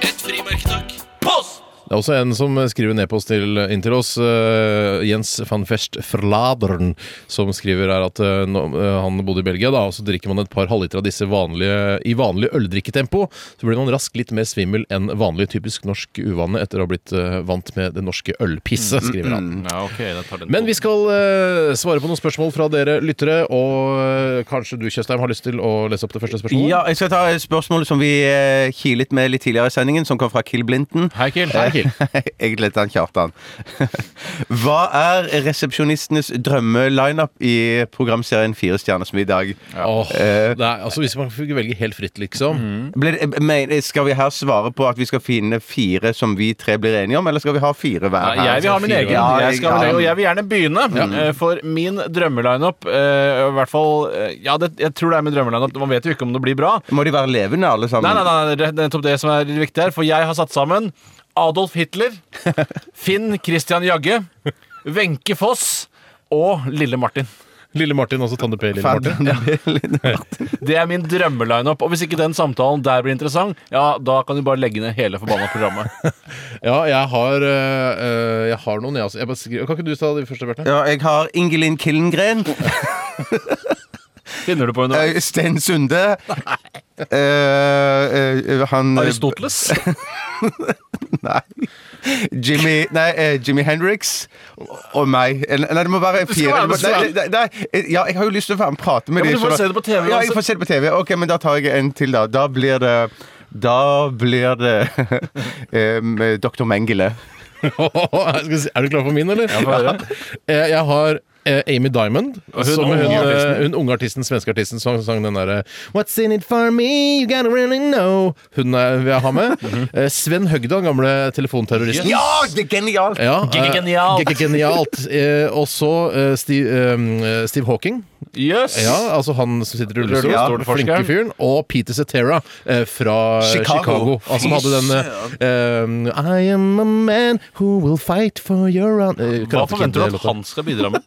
F: Et frimerke, takk. Post!
B: Det er også en som skriver en e-post til, inn til oss, eh, Jens van Fest Fladern, som skriver her at eh, nå- eh, han bodde i Belgia, da, og så drikker man et par halvliter av disse vanlige, i vanlig øldrikketempo. Så blir man raskt litt mer svimmel enn vanlig typisk norsk uvane etter å ha blitt eh, vant med det norske ølpisset, skriver han.
C: Ja, ok, da tar den
B: Men vi skal eh, svare på noen spørsmål fra dere lyttere, og eh, kanskje du, Tjøstheim, har lyst til å lese opp det første spørsmålet?
D: Ja, jeg skal ta et spørsmål som vi eh, kilet med litt tidligere i sendingen, som kom fra Kill Blinton.
C: Hei, Kill.
D: Egentlig heter han Kjartan. Hva er resepsjonistenes drømmelineup i programserien Fire stjerners middag?
B: Åh, det er, altså Hvis man fikk velge helt fritt, liksom.
D: Blir det- eh, men Skal vi her svare på at vi skal finne fire som vi tre blir enige om, eller skal vi ha fire hver?
C: Nei, jeg vil ha min egen.
D: Ja,
C: Jeg skal ha min egen, og jeg vil gjerne begynne. eh, For min drømmelineup eh, I hvert fall eh, Ja, det, jeg tror det er min drømmelineup. Man vet jo ikke om det blir bra.
D: Må de være levende, alle sammen?
C: Nei, nei, nei, det er nettopp det som er viktig her. For jeg har satt sammen Adolf Hitler, Finn Christian Jagge, Wenche Foss og Lille Martin.
B: Lille Martin, altså Tande P. Lille Martin.
D: Fader, det blir litt hardt.
C: Det er min drømmelineup. Og hvis ikke den samtalen der blir interessant, ja, da kan du bare legge ned hele forbanna programmet.
B: Ja, jeg har, øh, jeg har noen, jeg også. Jeg bare skriver. Kan ikke du ta de første, Bjarte?
D: Ja, jeg har Ingelin Killengren,
C: Finner du på underveis?
D: eh, Sten Sunde eh, eh, Han
C: Aristoteles?
D: Nei. Jimmy, nei, eh, Jimi Hendrix og meg. Eh, Nei, det må være
C: skal
D: fire.
C: være
D: Det må-
C: med
D: Nei,
C: selv.
D: nei, nei, eh, ja, jeg har jo lyst til å være med og prate med
C: Ja, men
D: dem.
C: du
D: så
C: får
D: da-
C: se det på TV
D: Ja, jeg
C: uansett.
D: får se det på TV. Ok, men da tar jeg en til, da. Da blir det da blir det em, eh, Dr. Mengele.
B: Skal vi se, er du klar for min, eller?
C: få høre.
B: Eh, Jeg har eh, Amy Diamond,
C: Og hun
B: som
C: unge
B: hun,
C: artisten.
B: eh, hun unge artisten, svenske artisten, som sang den derre What's in it for me, you gotta really know. Hun er, vil jeg ha med.
C: Mhm.
B: Eh, Sven Høgda, den gamle telefonterroristen.
D: Ja, det er genialt!
B: Ja, eh,
C: Genialt.
B: ge- ge- Genialt. Eh, Og så eh, Steve, eh, Steve Hawking.
C: Jøss! Yes.
B: Ja, altså han som sitter i rullestol.
D: Ja.
B: Flinke fyren. Og Peter Cetera eh, fra
D: Chicago.
B: Chicago. Altså, Han som hadde den eh, eh, I am a man who will fight for your honor eh,
C: Hva
B: Karate
C: forventer du
B: Kid-låta.
C: at han skal bidra med?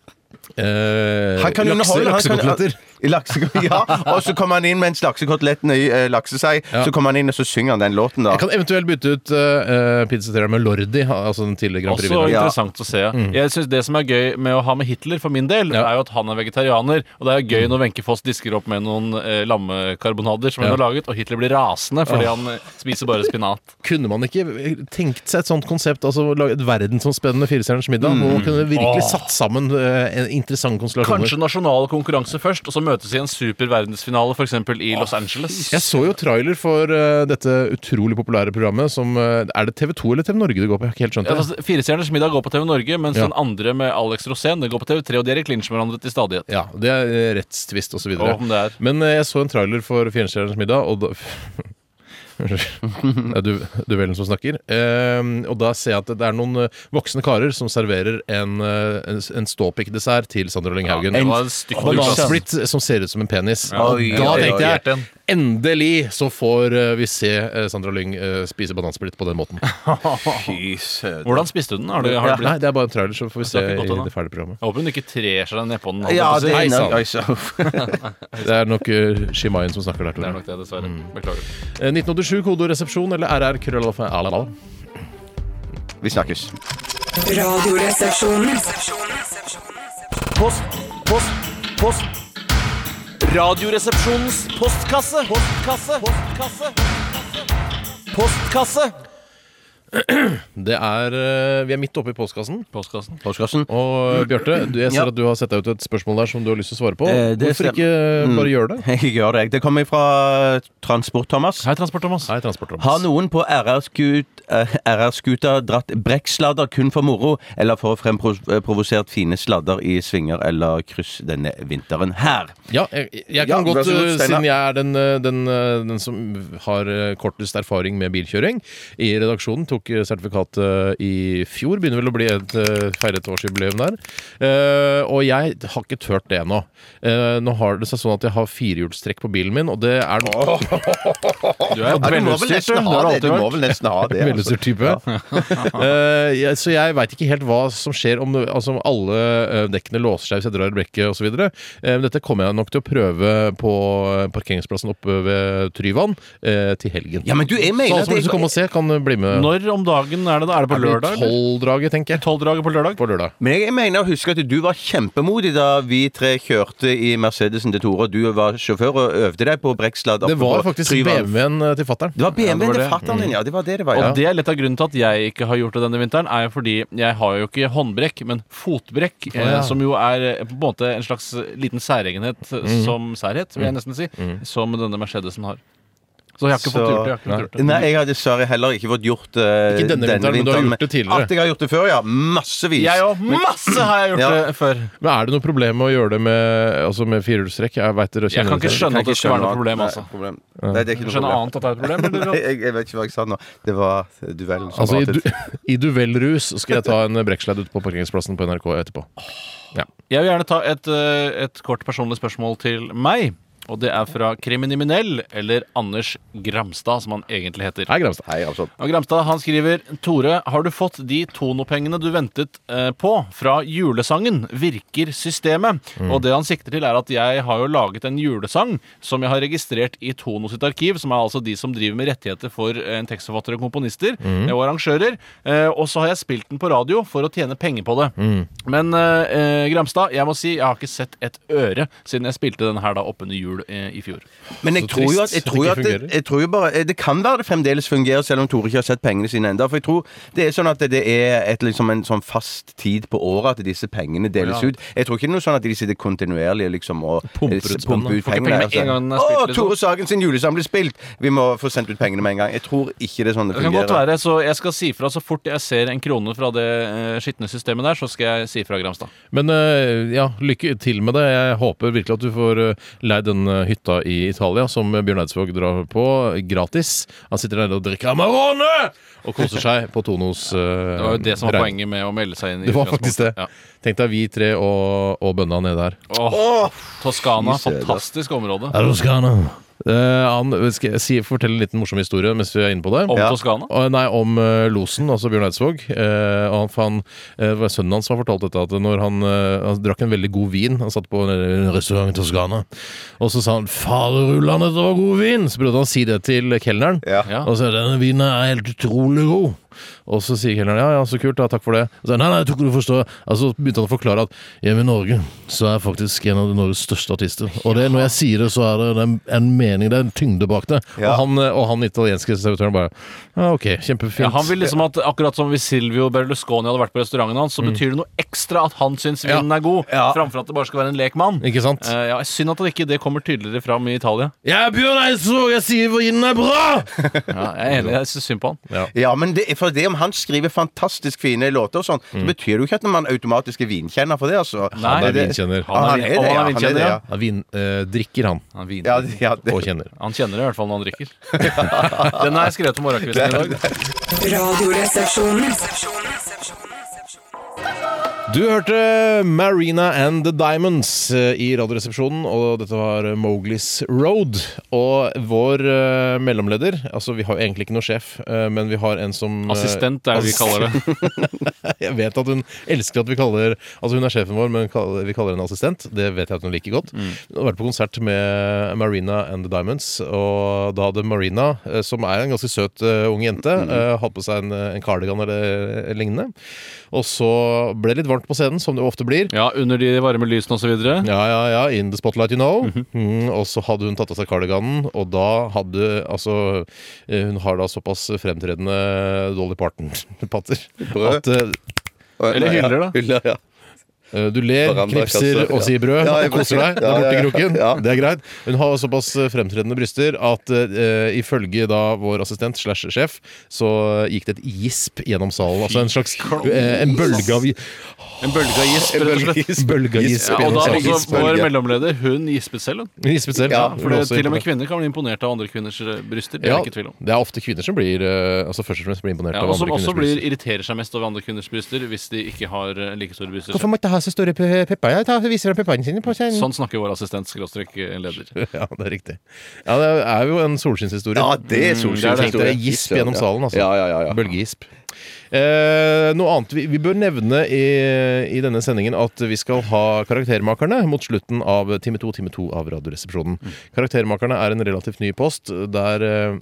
B: Eh,
D: Han kan
B: lakse,
D: underholde. han kan-
B: Laksekoteletter.
D: I laksekot- ja. Og så kommer han inn mens laksekotelettene eh, lakser seg.
B: Ja.
D: Så kommer han inn, og så synger han den låten, da.
B: Jeg kan eventuelt bytte ut eh, eh, Peter Cetera med Lordi, altså den tidligere Grand
C: Også
B: Prix-vinneren.
D: Ja.
C: interessant å se. Jeg synes Det som er gøy med å ha med Hitler, for min del,
B: Ja.
C: er jo at han er vegetarianer. Og det er jo gøy når Wenche Foss disker opp med noen eh, lammekarbonader som
B: Ja.
C: hun har laget, og Hitler blir rasende fordi han eh, spiser bare spinat.
B: Kunne man ikke eh, tenkt seg et sånt konsept? Altså lage et verdensomspennende Firestjerners middag?
C: Mm.
B: Hvor man kunne virkelig satt sammen eh, en interessante konstellasjoner.
C: Kanskje nasjonal konkurranse først, og så møtes i en super verdensfinale, f.eks. i Los Angeles.
B: Jeg så jo trailer for eh, dette utrolig populære programmet som eh, Er det TV 2 eller TV Norge det går på? Jeg har ikke helt skjønt
C: Ja,
B: det.
C: altså, Firestjerners middag går på TV Norge, mens
B: Ja.
C: den andre med Alex Rosén det går på TV3, og de er i clinch med hverandre til stadighet.
B: Ja, Det er eh, rettstvist osv.
C: Å, om det er.
B: Men eh, jeg så en trailer for Fjernstjerners middag, og da Det er du, duvellen som snakker. Eh, og da ser jeg at det er noen eh, voksne karer som serverer en, uh, en, en ståpikkdessert til Sandra Lyng Haugen.
C: det var et stykke utkast.
B: Banansplitt som ser ut som en penis. Og
D: Oi,
B: da
D: oi, oi.
B: tenkte jeg endelig så får eh, vi se eh, Sandra Lyng eh, spise banansplitt på den måten.
D: Fy søren.
C: Hvordan spiste du den? Har du, har
B: Ja,
C: det blitt?
B: Nei, det er bare en trailer, så får vi se
C: Det er ikke godt,
B: i
C: da.
B: det ferdige programmet.
C: Jeg håper hun ikke trer seg ned på den.
D: Ja, det
B: Hei,
D: er
B: sann.
D: Oi, så-
B: Det er nok uh, Shimayen som snakker der,
C: Det er
B: tror jeg.
C: nok det, dessverre. Beklager.
B: Eh, 1987, kodoresepsjon eller RR krøllalfa alalala.
D: Vi snakkes.
E: Radioresepsjonen.
F: Post, post, post. Radioresepsjonens postkasse. Postkasse. Postkasse. Postkasse.
B: Det er, eh, vi er midt oppe i postkassen.
C: Postkassen.
D: Postkassen.
B: Og eh, Bjarte, du- jeg ser
D: Ja.
B: at du har sett deg ut et spørsmål der som du har lyst til å svare på.
D: Eh, det
B: Hvorfor
D: stemmer.
B: ikke eh, bare gjøre det?
D: Jeg gjør det. jeg. Det kommer fra Transport-Thomas.
C: Hei, Transport-Thomas.
B: Hei, Transport-Thomas.
D: Har noen på RR-skut- eh, RR-skuta dratt brekksladder kun for moro, eller for å fremprovosert fine sladder i svinger eller kryss denne vinteren her?
B: Ja, jeg, jeg
D: Ja,
B: kan
D: vær
B: godt,
D: så god,
B: uh,
D: Steinar.
B: siden jeg er den, uh, den, uh, den som har uh, kortest erfaring med bilkjøring i redaksjonen, tok uh, sertifikat uh, i fjor, begynner vel å bli et uh, feiret årsjubileum der, Uh, og jeg har ikke tørt det ennå. Uh, Nå har det seg sånn at jeg har firehjulstrekk på bilen min, og det er
C: Du er
D: Ja,
C: jo
D: du må vel nesten
C: velutstyrt, du. Det
D: ha
C: har du
D: det. Du
C: alltid
D: må
C: vært.
D: vel nesten ha det. altså.
B: Velutstyrt-type. Eh, så jeg veit ikke helt hva som skjer om, altså, om alle eh, dekkene låser seg hvis jeg drar i brekket osv. Eh, Men dette kommer jeg nok til å prøve på eh, parkeringsplassen oppe ved Tryvann eh, til helgen.
D: Ja, men du, jeg
B: så
D: mener
B: alle som har lyst til å komme og se, kan eh, bli med.
C: Når om dagen er det da? Er det på lørdag? eller?
B: Tolvdraget, tenker jeg.
C: Tolvdraget på lørdag?
B: På lørdag.
D: Men jeg mener å huske at du var kjempemodig da vi tre kjørte i Mercedesen til Tore, og du var sjåfør og øvde deg på brekksladd.
B: Det
D: oppe
B: var
D: på
B: faktisk
D: Tryvann.
B: BMW-en eh, til fatter'n.
D: Det Mm. var BMW-en
C: Ja, det var
D: til
C: det.
D: fatter'n din, ja. Det var det det var,
C: Og
D: ja.
C: det er litt av grunnen til at jeg ikke har gjort det denne vinteren, er jo fordi jeg har jo ikke håndbrekk, men fotbrekk, eh,
B: ja.
C: som jo er eh, på en måte en slags liten særegenhet eh, som særhet, vil jeg nesten si, som denne Mercedesen har. Så jeg har ikke
D: Så-
C: fått gjort det. Jeg har ikke fått gjort det.
D: Nei, jeg har dessverre heller ikke fått gjort eh,
B: Ikke denne vinteren, men du har gjort det tidligere.
D: At jeg har gjort det før, ja. Massevis.
C: Jeg òg. Masse har jeg gjort
D: Ja.
C: det før.
B: Men er det noe problem med å gjøre det med, altså med firehjulstrekk? Jeg vet dere
C: Jeg
B: kjenner
C: kan ikke
B: dere til det.
C: skjønne at det skal være noe problem,
D: Nei,
C: altså.
D: problem. Nei, det er ikke
C: Jeg
D: noe
C: skjønner
D: problem.
C: annet at det er et problem. men
D: Nei,
C: det er bra.
D: jeg, jeg vet ikke hva jeg sa nå. Det var duellen som
B: Altså, i, du,
D: pratet.
B: I duellrus skal jeg ta en brekksledd ut på parkeringsplassen på NRK etterpå.
C: Jeg vil gjerne ta et, eh, et kort personlig spørsmål til meg. Og det er fra Kriminell, eller Anders Gramstad, som han egentlig heter.
B: Hei, Gramstad.
D: Hei, altså.
C: Og Gramstad han skriver Tore, har du fått de tonopengene du ventet eh, på fra julesangen? Virker systemet? Og det han sikter til, er at jeg har jo laget en julesang som jeg har registrert i Tono sitt arkiv, som er altså de som driver med rettigheter for eh, en tekstforfatter og komponister eh, og arrangører. Eh, og så har jeg spilt den på radio for å tjene penger på det. Men eh, eh, Gramstad, jeg må si jeg har ikke sett et øre siden jeg spilte den her da oppunder jul eh, i fjor.
D: Men jeg
B: Så
D: tror jo at,
B: trist
D: jeg
B: at det ikke
D: tror jo at det,
B: fungerer.
D: jeg tror jo bare, det kan være det fremdeles fungerer, selv om Tore ikke har sett pengene sine ennå. For jeg tror det er sånn at det er et, liksom en sånn fast tid på året at disse pengene deles
C: Ja.
D: ut. Jeg tror ikke det er noe sånn at de sitter kontinuerlig liksom, og
B: Pumper
D: eh,
B: ut
D: pumper ut
C: Får ikke
D: pengene.
C: penger med en gang den er
D: Å,
C: spilt, liksom.
D: Tore Sagen sin julesang blir spilt! Vi må få sendt ut pengene med en gang. Jeg tror ikke det er sånn det
C: Det kan godt
D: fungerer.
C: være, så jeg skal si fra så fort jeg ser en krone fra det eh, skitne systemet der, så skal jeg si fra Gramstad.
B: Men eh, ja, lykke til med det. Jeg håper virkelig at du får eh, leid den eh, hytta i Italia som eh, Bjørn Eidsvåg drar på, eh, gratis. Han sitter der og drikker Amarone og koser seg på Tonos uh,
C: Det var jo det som var poenget med å melde seg inn. i
B: Det var
C: Fransk
B: faktisk det.
C: Måned. Ja.
B: Tenk deg vi tre og, og bønna nede her.
C: Åh, Toskana,
D: fy søren.
C: fantastisk område.
B: Eh, han skal jeg si, fortelle en liten morsom historie mens vi er inne på det.
C: Om
D: Ja.
C: Toskana.
B: Å, Nei, om eh, losen, altså Bjørn Eidsvåg. Eh, og han, for han, eh, det var sønnen hans som har fortalt dette, at når han, eh, han drakk en veldig god vin Han satt på en, en restaurant i Toskana, og så sa han 'Faderullan, dette var god vin!' Så prøvde han å si det til kelneren.
D: Ja.
C: Ja.
B: Og så er det, denne vinen er helt utrolig god. Og så sier kelneren ja, ja, så kult, da, takk for det. Og så, sier han, nei, nei, jeg tror ikke du forstår. Altså, så begynte han å forklare at hjemme i Norge så er jeg faktisk en av Norges største artister. Og det, når jeg sier det, så er det en, en mening, det er en tyngde bak det.
D: Ja.
B: Og, han, og han italienske servitøren bare ja, ok, kjempefint.
C: Ja, han vil liksom at Akkurat som hvis Silvio Berlusconi hadde vært på restauranten hans, så betyr det noe ekstra at han syns vinen er god,
D: Mm. Ja.
C: framfor at det bare skal være en lekmann.
B: Ikke sant?
C: Eh, ja, Synd at det ikke det kommer tydeligere fram i Italia.
B: Jeg er Bjørn Eidsvåg, jeg sier vinen er bra!
C: Ja, jeg er enig, jeg syns synd på han.
D: Ja, men det, for det om han skriver fantastisk fine låter og sånn, så betyr det jo ikke at man automatisk er vinkjenner for det, altså.
C: Mm. Nei.
B: Han er
D: det-
B: vinkjenner.
D: Han,
C: Han
D: er
C: er-
D: det, ja.
C: og han er
D: Han er det,
C: vinkjenner,
D: ja.
C: ja.
B: Han vin, eh, drikker han,
C: Han, vin.
D: Ja, det- ja, det.
B: og kjenner.
C: han kjenner det i hvert fall når han drikker. Den har jeg skrevet om morgenkvisten i dag.
E: Radioresepsjonen.
B: Du hørte Marina and the Diamonds eh, i Radioresepsjonen, og dette var Mowglis Road. Og vår eh, mellomleder Altså, vi har jo egentlig ikke noe sjef, eh, men vi har en som eh,
C: Assistent er det vi
B: ass-
C: kaller det.
B: Jeg vet at hun elsker at vi kaller Altså, hun er sjefen vår, men kaller- vi kaller henne assistent. Det vet jeg at hun liker godt. Hun har vært på konsert med Marina and the Diamonds, og da hadde Marina, eh, som er en ganske søt eh, ung jente, eh, hatt på seg en, eh, en cardigan eller eh, lignende. Og så ble det litt varmt mørkt på scenen, som det ofte blir.
C: Ja, under de varme lysene og så videre.
B: Ja, ja, ja. In the spotlight, you know. mm, og så hadde hun tatt av seg kardiganen, og da hadde altså eh, Hun har da såpass fremtredende Dolly Parton-patter
D: Brød.
B: at eh,
C: Eller
D: Nei,
C: hyller,
D: ja.
C: da.
D: Hyller, ja.
B: Eh, Du ler,
D: Veranda,
B: knipser
D: kasse,
B: og
D: ja.
B: sier brød
D: Ja, jeg
B: og koser
D: vet
B: deg der
D: det. Ja,
B: borte i
D: ja, ja.
B: kroken.
D: Ja.
B: Det er greit. Hun har såpass eh, fremtredende bryster at eh, ifølge da vår assistent slash sjef, så gikk det et gisp gjennom salen. Altså en slags eh, en bølge av
C: En bølge av gisp, rett og slett.
B: En bølge av gisp
C: Ja, og
B: gjennom
C: da
B: salen.
C: også
D: Gisbølge.
C: vår mellomleder, hun gispet selv, hun.
B: Hun gispet selv.
D: Ja,
B: Hun
C: For
B: ble
C: det,
B: også
C: til og med
B: imponert.
C: kvinner kan bli imponert av andre kvinners eh, bryster. Det er
B: Ja,
C: det ikke tvil om.
B: det er ofte kvinner som blir eh, altså først og fremst blir imponert
C: Ja,
B: av
C: og
B: andre
C: som også
B: kvinners
C: blir,
B: bryster.
C: irriterer seg mest over andre kvinners bryster hvis de ikke har eh, like store bryster.
B: Hvorfor må jeg ikke ha så store pe- pepper? Jeg tar, viser frem pepperne sine på
C: selv.
B: scenen.
C: Sånn snakker vår assistent skråstrek eh, leder.
B: Ja, det er riktig. Ja, det er jo en solskinnshistorie.
D: Ja, det er solskinnshistorie.
B: Mm, det er det. Gisp gjennom salen, altså.
D: Ja, ja, ja, ja.
B: Bølgegisp. Eh, noe annet vi, vi bør nevne i, i denne sendingen at vi skal ha Karaktermakerne mot slutten av time to, time to av Radioresepsjonen.
D: Mm.
B: Karaktermakerne er en relativt ny post der eh,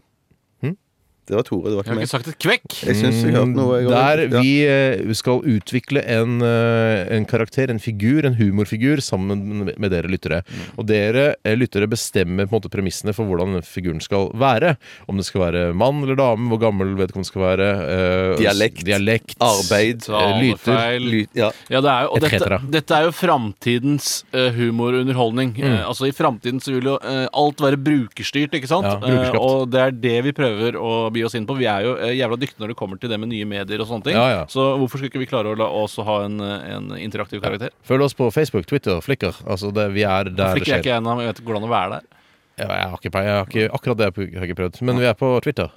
D: Det var Tore, det var ikke
C: Jeg har
D: meg.
C: ikke sagt et kvekk!
D: Jeg syns jeg hørte noe. Jeg
B: Mm. Der
D: Ja.
B: vi eh, skal utvikle en, eh, en karakter, en figur, en humorfigur, sammen med dere lyttere.
D: Mm.
B: Og dere eh, lyttere bestemmer på en måte premissene for hvordan denne figuren skal være. Om det skal være mann eller dame, hvor gammel vedkommende skal være. eh,
D: Dialekt.
B: dialekt
D: Arbeid.
B: eh, lyter.
C: Talefeil.
D: Lyd, ja.
C: Ja, det er jo, og
B: Et
C: dette,
B: cetera.
C: dette er jo framtidens eh, humorunderholdning.
B: Mm.
C: Eh, altså I framtiden så vil jo eh, alt være brukerstyrt, ikke sant?
B: Ja, brukerskapt.
C: Eh, og det er det vi prøver å by oss inn på. Vi er jo eh, jævla dyktige når det kommer til det med nye medier og sånne ting.
B: Ja, ja.
C: Så hvorfor skulle ikke vi klare å la oss ha en, eh, en interaktiv karakter?
B: Følg oss på Facebook, Twitter, Flikker. Altså det, vi er der
C: Hvorfor
B: det
C: ikke jeg
B: skjer.
C: ikke ennå, men jeg vet ikke hvordan å være der.
B: Ja, Jeg har ikke, peil- jeg har ikke, akkurat det har jeg ikke prøvd. Men vi er på Twitter.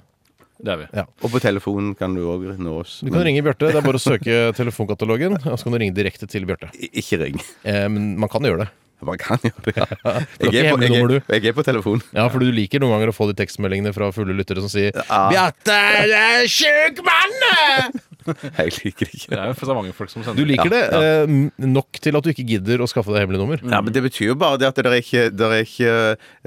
C: Det er vi.
D: Og på telefonen kan du òg nå oss.
B: Du kan ringe Bjarte. Det er bare å søke telefonkatalogen, og så kan du ringe direkte til Bjarte.
D: Ikke ring.
B: Eh, men man kan gjøre det.
D: Man kan gjøre det, ja.
B: det er
D: Jeg
B: ikke
D: er på, jeg,
B: hemmelig nummer,
D: er- jeg er på telefon.
B: Ja, for du liker noen ganger å få de tekstmeldingene fra fulle lyttere som sier Bjarte, jeg er sjuk mann!
D: Jeg liker det ikke.
C: Det er jo så mange folk som sender
B: Du liker det
D: Ja,
B: eh, nok til at du ikke gidder å skaffe deg hemmelig nummer.
D: Ja, men Det betyr jo bare det at det er ikke Det er ikke,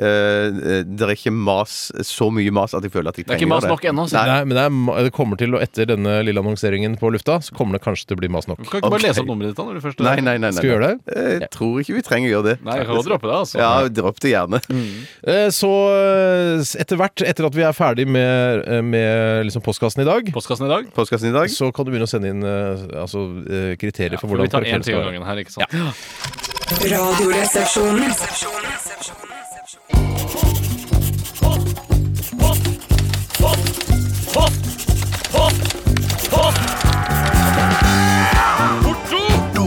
D: eh, det er ikke mas, så mye mas at jeg føler at jeg
C: Det er
D: trenger
C: ikke mas nok ennå. sier jeg.
B: Nei, men det, er, ma- det kommer til å Etter denne lille annonseringen på lufta, så kommer det kanskje til å bli mas nok.
C: Du kan ikke bare
D: Ok.
C: lese opp nummeret ditt da når du først
D: Nei, nei, nei, nei.
B: Skal vi gjøre det?
D: Eh, Jeg tror ikke vi trenger å gjøre det. Mm.
C: Nei, jeg kan godt droppe det, altså.
D: Ja, dropp det gjerne.
B: Eh, Så eh, etter hvert, etter at vi er ferdig med, eh, med liksom postkassen i dag,
C: Postkassen i dag.
D: Postkassen i dag.
B: så kan du begynne å sende inn eh, altså, eh, kriterier for
C: For
B: hvordan
C: vi tar én
B: karakteren
C: ting
B: skal
C: av
B: være.
C: gangen her, ikke sant.
E: Radioresepsjonen.
F: Porto!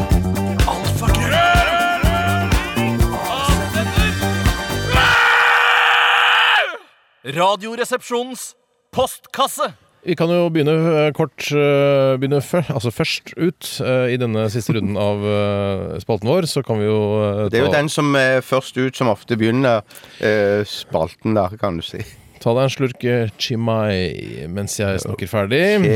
G: Radioresepsjonens postkasse.
B: Vi kan jo begynne eh, kort eh, begynne før, altså først ut eh, i denne siste runden av eh, spalten vår. Så kan vi jo eh,
D: Det er jo
B: ta,
D: den som er først ut, som ofte begynner eh, spalten, da, kan du si.
B: ta deg en slurk eh, chimay mens jeg snakker ferdig.
D: Ok.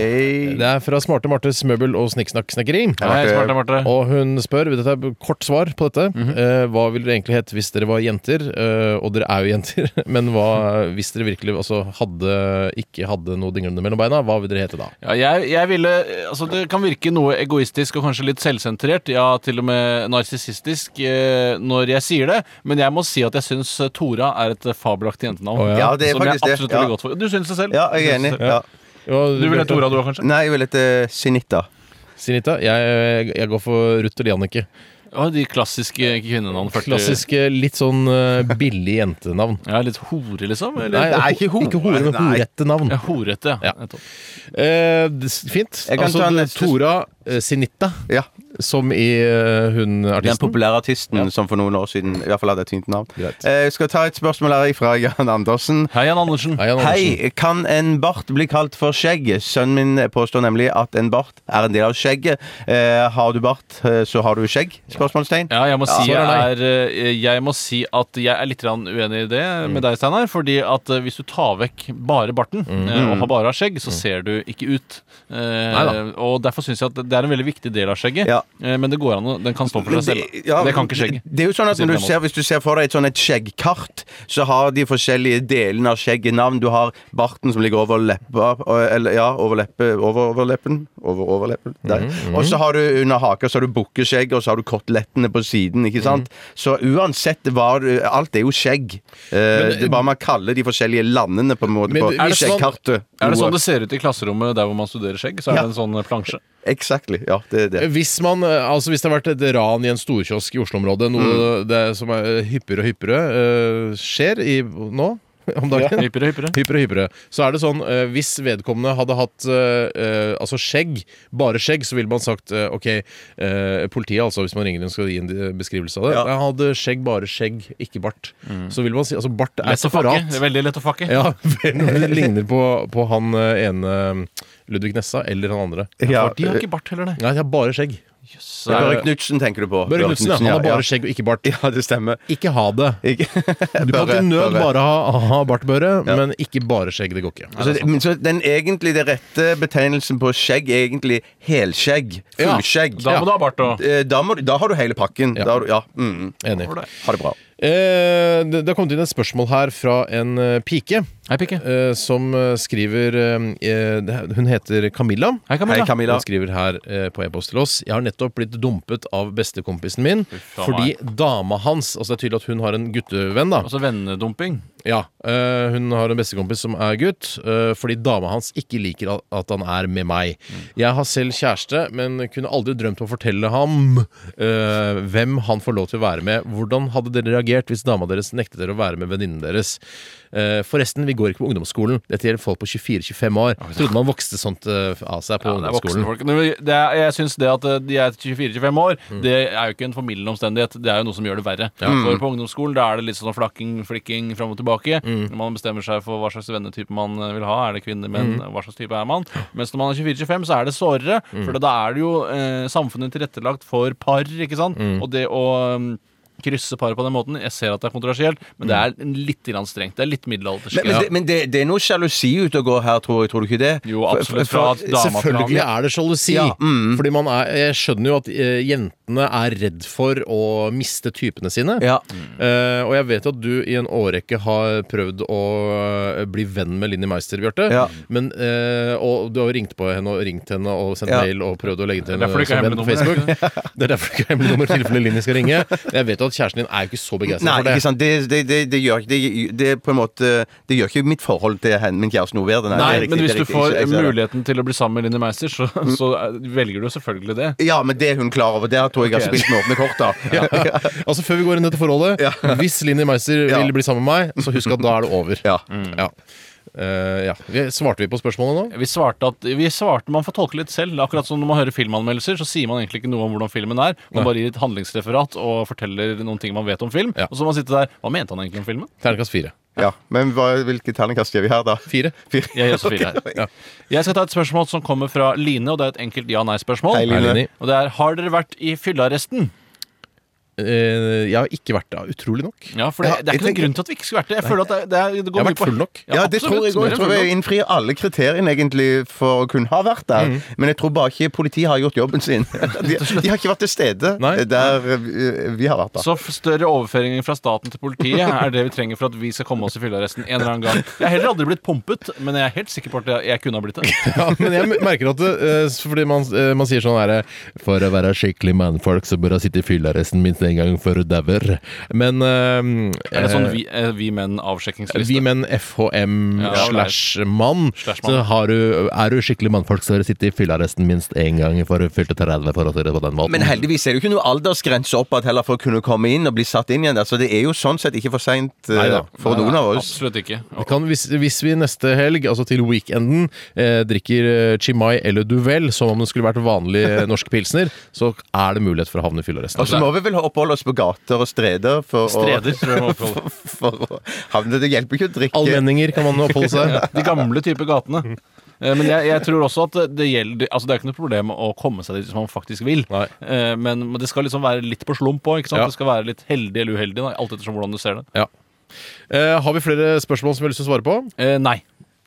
B: Det er fra Smarte Martes Møbel- og Snikksnakksnekkeri.
C: Nei, smarte, Marte.
B: Og hun spør, dette er kort svar på dette,
D: Mhm.
B: eh, hva ville dere egentlig hett hvis dere var jenter? Eh, og dere er jo jenter, men hva, hvis dere virkelig altså, hadde, ikke hadde noe dinglende mellom beina, hva ville dere hete da?
C: Ja, jeg, jeg ville, altså Det kan virke noe egoistisk og kanskje litt selvsentrert, ja, til og med narsissistisk, eh, når jeg sier det, men jeg må si at jeg syns eh, Tora er et fabelaktig jentenavn.
B: Å, ja.
D: Ja, det er
C: som jeg
D: faktisk det,
C: absolutt
D: ja.
C: ville gått for. Du syns det selv?
D: Ja, jeg er enig. Ja.
B: Ja,
C: Du ville hett Tora, du òg, kanskje?
D: Nei, jeg vil hete Sinita.
B: Sinita? Jeg, jeg går for Ruth eller Jannicke.
C: Ja, de klassiske kvinnenavn. 40.
B: Klassiske, litt sånn eh, billig jentenavn.
C: Ja, Litt hore, liksom?
B: Nei,
C: Eller?
D: det er ikke hore.
B: Ikke hore, men
D: Nei.
B: horette navn.
C: Ja, horete,
B: Ja.
C: ja. nettopp.
B: Eh, det- fint.
D: Jeg kan
B: altså
D: ta neste-
B: Tora eh, Sinita,
D: Ja.
B: som i eh, hun
D: Den
B: artisten.
D: populære artisten som for noen år siden i hvert fall hadde et fint navn.
B: Greit.
D: Eh, skal ta et spørsmål her fra Jan Andersen.
C: Hei, Jan Andersen.
B: Hei, Jan Andersen.
D: Hei, kan en bart bli kalt for skjegg? Sønnen min påstår nemlig at en bart er en del av skjegget. Eh, har du bart, eh, så har du skjegg? Spørsmålstegn.
C: Ja, jeg må, si
B: Svar
C: jeg,
B: er
C: er, eh, jeg må si at jeg er litt grann uenig i det med deg, Steinar. Fordi at eh, hvis du tar vekk bare barten eh, og har bare skjegg, så ser du ikke ut. Eh,
B: Neida.
C: Og derfor syns jeg at det- det er en veldig viktig del av skjegget,
D: Ja.
C: eh, men det går an å, den kan stå for seg selv.
D: ja,
C: det kan ikke skjegget.
D: Det er jo sånn at
C: Sier
D: når
C: det
D: du
C: mot.
D: ser, Hvis du ser for deg et sånn et skjeggkart, så har de forskjellige delene av skjegget navn. Du har barten som ligger over leppa og- Eller ja, over leppe Over overleppen. Over overleppen. Der. Og så har du under haka så har du bukkeskjegg, og så har du kotelettene på siden. Ikke sant? Så uansett hva du Alt er jo skjegg. Eh, det er bare man kaller de forskjellige landene på en måte
B: Men
D: på
B: er det sånn-
D: skjeggkartet.
C: Er det sånn det ser ut i klasserommet der hvor man studerer skjegg? Så er
D: Ja.
C: det en sånn plansje.
D: Exactly. Ja, det er det.
B: Hvis, man, eh, altså hvis det har vært et ran i en storkiosk i Oslo-området, noe
D: Mm.
B: det som er eh, hyppigere og hyppigere eh, skjer i, nå om dagen
C: Hyppigere, hyppigere.
B: Hyppigere og hyppigere. Så er det sånn, eh, hvis vedkommende hadde hatt eh, eh, altså skjegg, bare skjegg, så ville man sagt eh, OK, eh, politiet, altså, hvis man ringer inn skal gi en eh, beskrivelse av det.
D: Ja. Mm.
B: Jeg hadde skjegg, bare skjegg, ikke bart. Så vil man si Altså, bart er
C: Lett å fakke.
B: separat.
C: Det er Veldig lett å fakke.
B: Ja, når det ligner på, på han eh, ene Ludvig Nessa eller han andre.
D: Ja.
C: For de har ikke bart heller, nei.
B: Nei, de har bare skjegg.
C: Jøss, det er-
D: Børre Knutsen tenker du på.
B: Børre Knutsen, ja. Han har
D: ja,
B: bare skjegg og ikke bart.
D: ja. ja, det stemmer.
B: Ikke ha det.
D: Ikke-
B: Du kan
D: Børre,
B: til nød
D: Børre.
B: bare ha, ha bartbøre, men ikke bare skjegg. Det går ikke.
D: Så, Altså, men så den egentlig det rette betegnelsen på skjegg er egentlig helskjegg.
B: Ja,
D: Fullskjegg.
C: Da må du ha bart òg.
D: Eh, Da, må, du- da har du hele pakken.
B: Ja.
D: Da har du, ja. Mm.
B: Enig.
D: Ha det bra.
B: Eh, det, det har kommet inn et spørsmål her fra en eh, pike
C: Hei, Pikke.
B: eh, som eh, skriver eh, det- Hun heter Camilla.
C: Hei, Camilla.
D: Hei, Camilla.
B: Hun skriver her eh, på e-post til oss Jeg har nettopp blitt dumpet av bestekompisen min
C: faen
B: fordi dama hans Altså det er tydelig at hun har en guttevenn, da.
C: Altså vennedumping.
B: Ja, øh, Hun har en bestekompis som er gutt, øh, fordi dama hans ikke liker at- at han er med meg. Jeg har selv kjæreste, men kunne aldri drømt om å fortelle ham øh, hvem han får lov til å være med. Hvordan hadde dere reagert hvis dama deres nektet dere å være med venninnen deres? Eh, forresten, vi går ikke på ungdomsskolen. Dette gjelder folk på 24-25 år. Trodde man vokste sånt øh, av seg på
C: Ja, det er voksne
B: ungdomsskolen.
C: folk. Men Det er, jeg syns det at eh, de er 24-25 år, det er jo ikke en formildende omstendighet. Det er jo noe som gjør det verre.
D: Mm.
C: For på ungdomsskolen da er det litt sånn flakking, flikking fram og tilbake.
D: Mm.
C: Når man bestemmer seg for hva slags vennetype man eh, vil ha. Er det kvinner, menn?
D: Mm.
C: Hva slags type er man? Mens når man er 24-25, så er det sårere. For da er det jo eh, samfunnet tilrettelagt for par, ikke sant?
D: Mm.
C: Og det å eh, krysse par på den måten. Jeg ser at det er kontroversielt, men det er litt grann strengt. Det er litt middelaldersk.
D: Mm. Men, men, det, men det, det er noe sjalusi ute og går her, tror jeg. Tror du ikke det?
C: Jo, absolutt. Fra at dama mm. til han.
B: Selvfølgelig er det sjalusi. Fordi man er, jeg skjønner jo at eh, jentene er redd for å miste typene sine.
D: Ja.
C: Mm.
B: Eh, og jeg vet at du i en årrekke har prøvd å eh, bli venn med Linni Meister, Bjarte.
D: Ja.
B: Men, eh, og du har jo ringt på henne og ringt henne og sendt
D: Ja.
B: mail og prøvd å legge til
C: Det er
B: henne
C: derfor det ikke
B: som
C: er
B: venn på
C: hemmelig nummer.
B: Facebook. det er derfor det ikke er hemmelig nummer i tilfelle Linni skal ringe. Jeg vet jo at kjæresten din er jo ikke så begeistra
D: Nei,
B: for det.
D: ikke sant. Det, det, det, det gjør ikke det, det, er på en måte, det gjør ikke mitt forhold til henne, min kjæreste noe bedre. det
C: Nei,
D: er riktig,
C: men
D: det
C: hvis
D: er
C: du
D: riktig. Jeg
C: får
D: ser- jeg ser det.
C: muligheten til å bli sammen med Linni Meister, så, så eh, velger du selvfølgelig det.
D: Ja, men det er hun klar over. Der tror jeg jeg har
C: Ok.
D: spilt med åpne kort. da
B: Altså Før vi går inn i dette forholdet, hvis Linni Meister
D: Ja.
B: vil bli sammen med meg, så husk at da er det over. Mm.
D: Ja.
B: Ja. Eh, ja. Vi- Svarte vi på spørsmålet nå?
C: Vi svarte at vi svarte, Man får tolke litt selv. Akkurat som når man hører filmanmeldelser, så sier man egentlig ikke noe om hvordan filmen er. Man bare gir et handlingsreferat og forteller noen ting man vet om film.
B: Ja.
C: Og så må man sitte der Hva mente han egentlig om filmen?
B: Terningkast fire.
D: ja. Men hva, hvilket terningkast gjør vi her, da?
B: Fire.
D: Fire.
C: Jeg gir også fire her.
B: Ja.
C: Jeg skal ta et spørsmål som kommer fra Line, og det er et enkelt ja-nei-spørsmål.
D: Hei, Line.
B: Hei, Linni.
C: Og det er Har dere vært i fyllearresten?
B: Eh, jeg har ikke vært der, utrolig nok.
C: Ja, for det,
D: Ja,
C: det
D: jeg
C: er ikke noen
D: tenker-
C: grunn til at vi ikke skulle vært det. Jeg føler at det, det, er,
B: Jeg
C: det går
B: har
C: mye
B: vært
C: på-
B: full nok.
D: Ja, det tror jeg òg.
C: absolutt.
D: Jeg
C: Mer enn
D: tror
C: full
D: jeg
C: nok.
D: innfrir alle kriteriene egentlig for å kunne ha vært der. Men jeg tror bare ikke politiet har gjort jobben sin. De, de har ikke vært til stede
B: Nei.
D: der eh, vi har vært. da
C: Så f- større overføringer fra staten til politiet er det vi trenger for at vi skal komme oss i fyllearresten en eller annen gang. Jeg har heller aldri blitt pumpet, men jeg er helt sikker på at jeg, jeg kunne ha blitt det.
B: Ja, men jeg merker at det, eh, Fordi man, eh, man sier sånn herre For å være skikkelig mannfolk, så bør jeg sitte i fyllearresten minst en gang før du dauer. Men eh,
C: Er det sånn
B: eh,
C: vi, eh, vi menn avsjekkingsliste?
B: vi menn FHM
C: Ja, det er-
B: slash mann,
C: Slash mann.
B: så har du, er du skikkelig mannfolk, så bør du sitte i fyllearresten minst én gang før du fylte 30. For å si det på den måten.
D: men heldigvis er det jo ikke noe aldersgrense oppad heller for å kunne komme inn og bli satt inn igjen der, så det er jo sånn sett ikke for seint eh,
B: Neida.
D: for noen av oss.
C: Absolutt ikke.
B: Vi kan, hvis, hvis vi neste helg, altså til weekenden, eh, drikker eh, Chimay eller Duvel som om det skulle vært vanlig eh, norsk pilsner, så er det mulighet for å havne i fyllearresten.
D: Og
C: Altså,
D: så må vi vel oppholde oss på gater og streder for,
C: Streder, tror jeg må oppholde.
D: Å, for å havne Det hjelper ikke å drikke.
B: Allmenninger kan man oppholde seg.
C: De gamle type gatene. Eh, Men jeg, jeg tror også at det gjelder Altså det er ikke noe problem å komme seg dit hvis man faktisk vil.
B: Nei.
C: Eh, Men men det skal liksom være litt på slump òg.
B: Ja.
C: Det skal være litt heldig eller uheldig. Da, alt ettersom hvordan du ser det.
B: Ja. Eh, har vi flere spørsmål som vi har lyst til å svare på?
C: Eh, nei.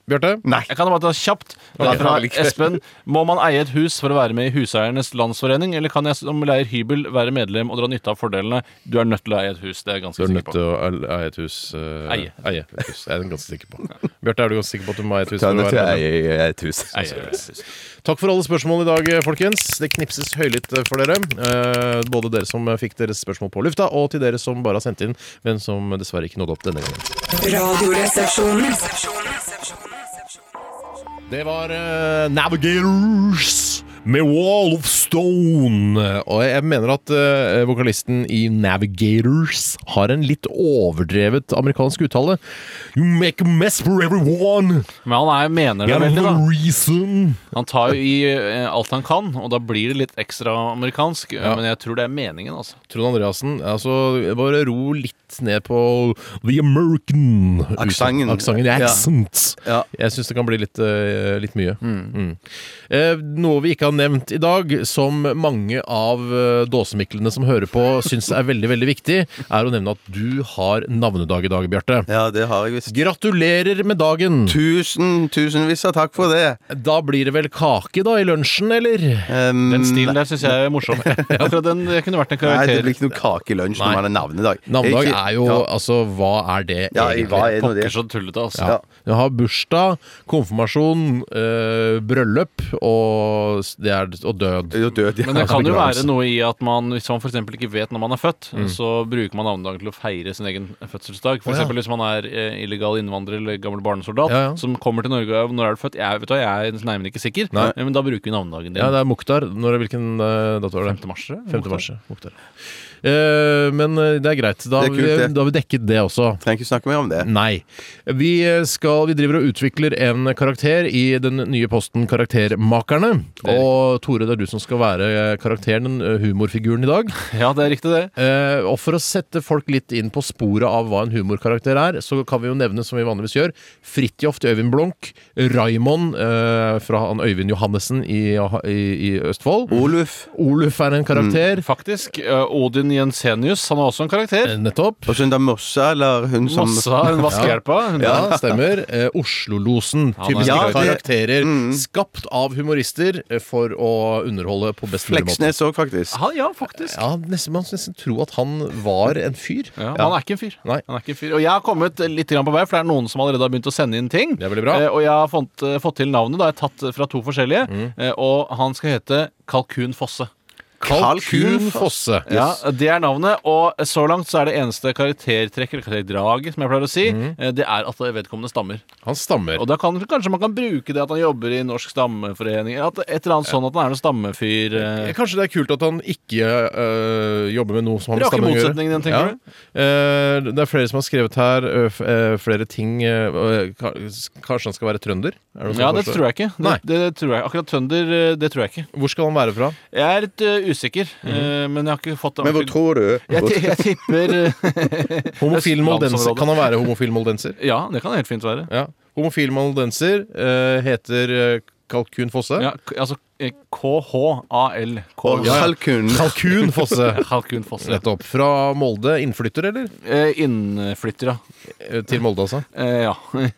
B: Bjarte?
D: Nei.
C: Jeg kan bare ta kjapt. Det
D: Nei,
C: er fra
D: det er ikke det.
C: Espen. Må man eie et hus for å være med i Huseiernes landsforening, eller kan jeg som leier hybel være medlem og dra nytte av fordelene? Du er nødt til å eie et hus. Det er jeg
B: Du
C: ganske
B: er nødt
C: sikker
B: til
C: på.
B: å eie et hus. eh,
C: Eie.
B: et hus. Jeg er ganske sikker på. Bjarte, er du ganske sikker på at du må eie et hus? for
D: Ta
B: å
D: det til
B: være medlem?
D: ei- ei- et hus.
C: Eie et hus.
B: Takk for alle spørsmål i dag, eh, folkens. Det knipses høylytt for dere. Eh, Både dere som fikk deres spørsmål på lufta, og til dere som bare har sendt inn, men som dessverre ikke nådde opp denne gangen.
E: Radioresepsjonen.
B: Det var eh, Navigators med Wall of Stone. Og jeg mener at eh, vokalisten i Navigators har en litt overdrevet amerikansk uttale. You make a mess for everyone.
C: Men han er, mener det
B: You have
C: veldig, da.
B: a reason.
C: Han tar jo i eh, alt han kan, og da blir det litt ekstra amerikansk. eh,
B: Ja.
C: Men jeg tror det er meningen, altså.
B: Trond Andreassen, altså bare ro litt ned på the American
D: Aksangen.
B: Aksangen, the
D: Ja.
B: accent.
D: Ja.
B: Jeg syns det kan bli litt, eh, litt mye. Mm. Eh, noe vi ikke har nevnt i dag, som mange av eh, dåsemiklene som hører på, syns er veldig, veldig viktig, er å nevne at du har navnedag i dag, Bjarte.
D: Ja, det har jeg visst.
B: Gratulerer med dagen!
D: Tusen, tusenvis av takk for det.
B: Da blir det vel kake, da, i lunsjen, eller?
D: Um,
B: Mm,
C: Den stilen der syns jeg er morsom. Akkurat den det kunne vært
D: Nei, det
C: en karakter.
D: blir ikke noe kake i lunsj når man har navnedag.
B: Navnedag
D: Ikke-
B: er jo
D: ja.
B: Altså, hva er det
D: Ja,
B: egentlig?
D: hva er nå
C: Pokker
D: det?
C: så tullete, altså.
B: Ja. Du har bursdag, konfirmasjon, eh, bryllup og, s- det er, og død.
D: Det er jo død, ja.
C: Men det
B: altså
C: kan jo
B: begravelse. Mm.
C: være noe i at man, hvis man for eksempel ikke vet når man er født, så bruker man navnedagen til å feire sin egen fødselsdag. For
B: Å, ja.
C: eksempel hvis man er eh, illegal innvandrer eller gammel barnesoldat
B: Ja, ja.
C: som kommer til Norge og når er du født? Jeg, vet du, hva, jeg er nærmere ikke sikker,
B: Nei.
C: Eh, men da bruker vi navnedagen din.
B: Ja, det er Mukhtar. Når, hvilken eh, dato er det?
C: 5. mars? eller?
B: 5. mars. ja. Mukhtar. Eh, men eh, det er greit. Da har
D: Det er kult,
B: vi,
D: det.
B: da har vi dekket det også.
D: Trenger ikke snakke mer om det.
B: Nei. Vi, eh, skal, vi driver og utvikler en karakter i den nye posten Karaktermakerne. Og Tore, det er du som skal være karakteren, eh, humorfiguren, i dag.
C: Ja, det er riktig, det.
B: Eh, og for å sette folk litt inn på sporet av hva en humorkarakter er, så kan vi jo nevne, som vi vanligvis gjør, Fridtjof til Øyvind Blunk, Raymond eh, fra han Øyvind Johannessen i, i, i Østfold.
D: Oluf.
B: Oluf er en karakter.
C: Faktisk. eh, Odin Jensenius, han er også en karakter.
B: Eh, Nettopp.
D: Og så hun da Mossa, eller hun som
C: Mossa, hun vaskehjelpa. Hun-
B: Eh, Ja, stemmer. Eh, Oslolosen.
C: Han er-
B: Typiske
D: Ja, det-
B: karakterer skapt av humorister eh, for å underholde på best mulig måte.
D: Fleksnes òg, faktisk.
C: Han, ja, faktisk.
B: Ja, nesten, Man skulle nesten tro at han var en fyr.
C: Ja, Han er ikke en fyr.
B: Nei.
C: Han er ikke en fyr. Og jeg har kommet litt grann på vei, for det er noen som allerede har begynt å sende inn ting.
B: Det er veldig bra.
C: Eh, Og jeg har fått, eh, fått til navnet. Da jeg har tatt fra to forskjellige.
B: Mm.
C: Eh, Og han skal hete Kalkun Fosse.
B: Kalkun
D: Kalkun
B: Fosse.
C: Ja, Det er navnet, og så langt så er det eneste karaktertrekk eller karakterdraget som jeg pleier å si,
B: Mm.
C: eh, det er at vedkommende stammer.
B: Han stammer.
C: Og da kan kanskje man kan bruke det at han jobber i Norsk stammeforening, eller at et eller annet sånn at han er en stammefyr. eh.
B: Kanskje det er kult at han ikke øh, jobber med noe som har med
C: Rake
B: stammen å gjøre.
C: motsetningen, tenker du?
B: Eh, det er flere som har skrevet her øh, f- eh, flere ting eh, og, eh, ka- Kanskje han skal være trønder? Er noen som
C: Ja, det
B: foreslår?
C: tror jeg ikke. Det,
B: Nei.
C: det, tror jeg. Akkurat trønder, eh, det tror jeg ikke.
B: Hvor skal han være fra?
C: Jeg er litt eh, usikker,
B: Mm.
C: eh, men jeg har ikke fått det
D: Men hvor tror du?
C: Jeg, ti- jeg tipper eh,
B: Homofil moldenser. Kan han være homofil moldenser?
C: Ja, det kan det helt fint være.
B: Ja. Homofil moldenser eh, heter eh, Kalkun Fosse.
C: Ja, k- altså eh, KHAL.
D: Og
C: Ja, ja.
D: Kalkun.
B: Kalkun Fosse!
C: Kalkun Fosse.
B: Nettopp. Fra Molde. Innflytter, eller?
C: Eh, Innflytter, ja.
B: Eh, Til Molde, altså.
C: Eh, ja.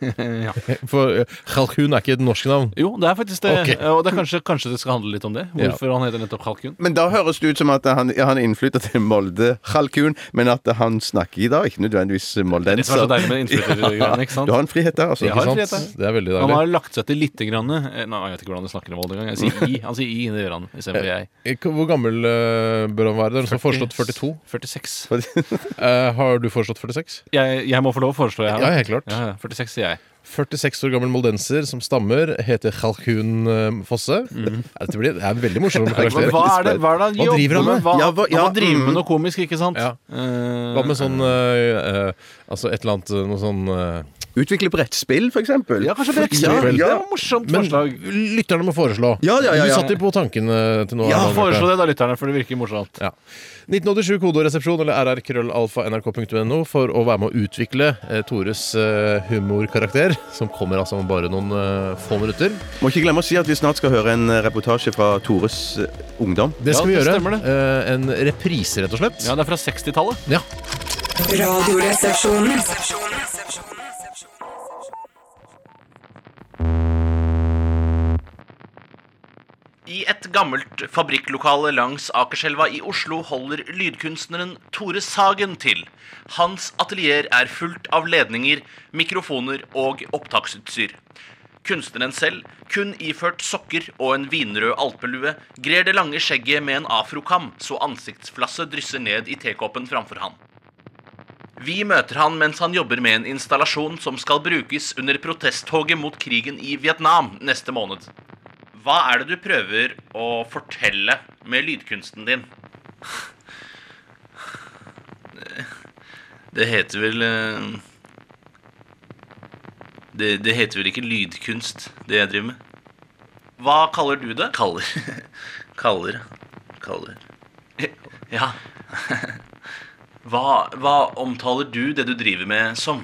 C: ja.
B: For eh, Kalkun er ikke et norsk navn.
C: Jo, det er faktisk det.
B: Ok.
C: Eh, Og det er kanskje, kanskje det skal handle litt om det. Hvorfor han heter nettopp Kalkun.
D: Men da høres det ut som at han, han innflytter til Molde, Kalkun, men at han snakker i dag, ikke nødvendigvis
C: Det som er
D: moldenser.
C: så deilig med innflyttergreiene, ikke
D: Du
C: sant?
D: har en frihet der, altså.
C: Jeg har
D: Ikke
C: frihet
D: sant?
C: der.
B: Det er veldig
C: Han
B: deilig.
C: har lagt seg til lite grann. eh, Nei, jeg vet ikke hvordan de snakker om Molde engang. Jeg sier I. Han sier I, det gjør han. Istedenfor jeg.
B: Ikke- Hvor gammel eh, bør han være? Det er noen som har foreslått 42.
C: 46.
B: Eh, har du foreslått 46?
C: Jeg, jeg må få lov å foreslå, jeg.
B: Ja, helt klart.
C: Ja, ja, 46 sier jeg.
B: 46 år gammel moldenser som stammer, heter Kalkun eh, Fosse. Ja, Dette blir, det er en veldig morsom
C: Men
B: karakter.
C: hva er Mhm. det, hva er det han
B: Hva driver
C: jobber
B: han
C: med?
B: med?
C: Hva,
D: Ja, hva- ja,
C: han driver med
D: mm.
C: noe komisk, ikke sant?
B: Ja.
C: Eh,
B: Hva med sånn eh, eh, Altså et eller annet eh, noe sånn eh,
D: Utvikle brettspill, for eksempel.
C: Ja, kanskje brettspill.
D: Ja,
C: Det
D: ja.
C: var et morsomt
B: Men
C: forslag.
B: lytterne må foreslå.
D: Ja, ja, ja,
B: Du
D: ja.
B: satt jo på tankene til nå.
D: Ja,
B: Arne Alberte.
C: Foreslå det da, lytterne, for det virker morsomt.
B: Ja. 1987 koderesepsjon eller rrkrøllalfa.nrk.no for å være med å utvikle eh, Tores eh, humorkarakter, som kommer altså om bare noen eh, få minutter.
D: Må ikke glemme å si at vi snart skal høre en reportasje fra Tores eh, ungdom.
B: Det skal
C: Ja, det
B: vi
C: stemmer
B: gjøre.
C: det.
B: Eh, en reprise, rett og slett.
C: Ja, det er fra 60-tallet.
B: Ja.
E: Radioresepsjonen.
G: I et gammelt fabrikklokale langs Akerselva i Oslo holder lydkunstneren Tore Sagen til. Hans atelier er fullt av ledninger, mikrofoner og opptaksutstyr. Kunstneren selv, kun iført sokker og en vinrød alpelue, grer det lange skjegget med en afrokam, så ansiktsflasset drysser ned i tekoppen framfor han. Vi møter han mens han jobber med en installasjon som skal brukes under protesttoget mot krigen i Vietnam neste måned. Hva er det du prøver å fortelle med lydkunsten din? Det heter vel eh, det, det heter vel ikke lydkunst, det jeg driver med. Hva kaller du det? Kaller. Kaller. Kaller. Ja. Hva, hva omtaler du det du driver med som?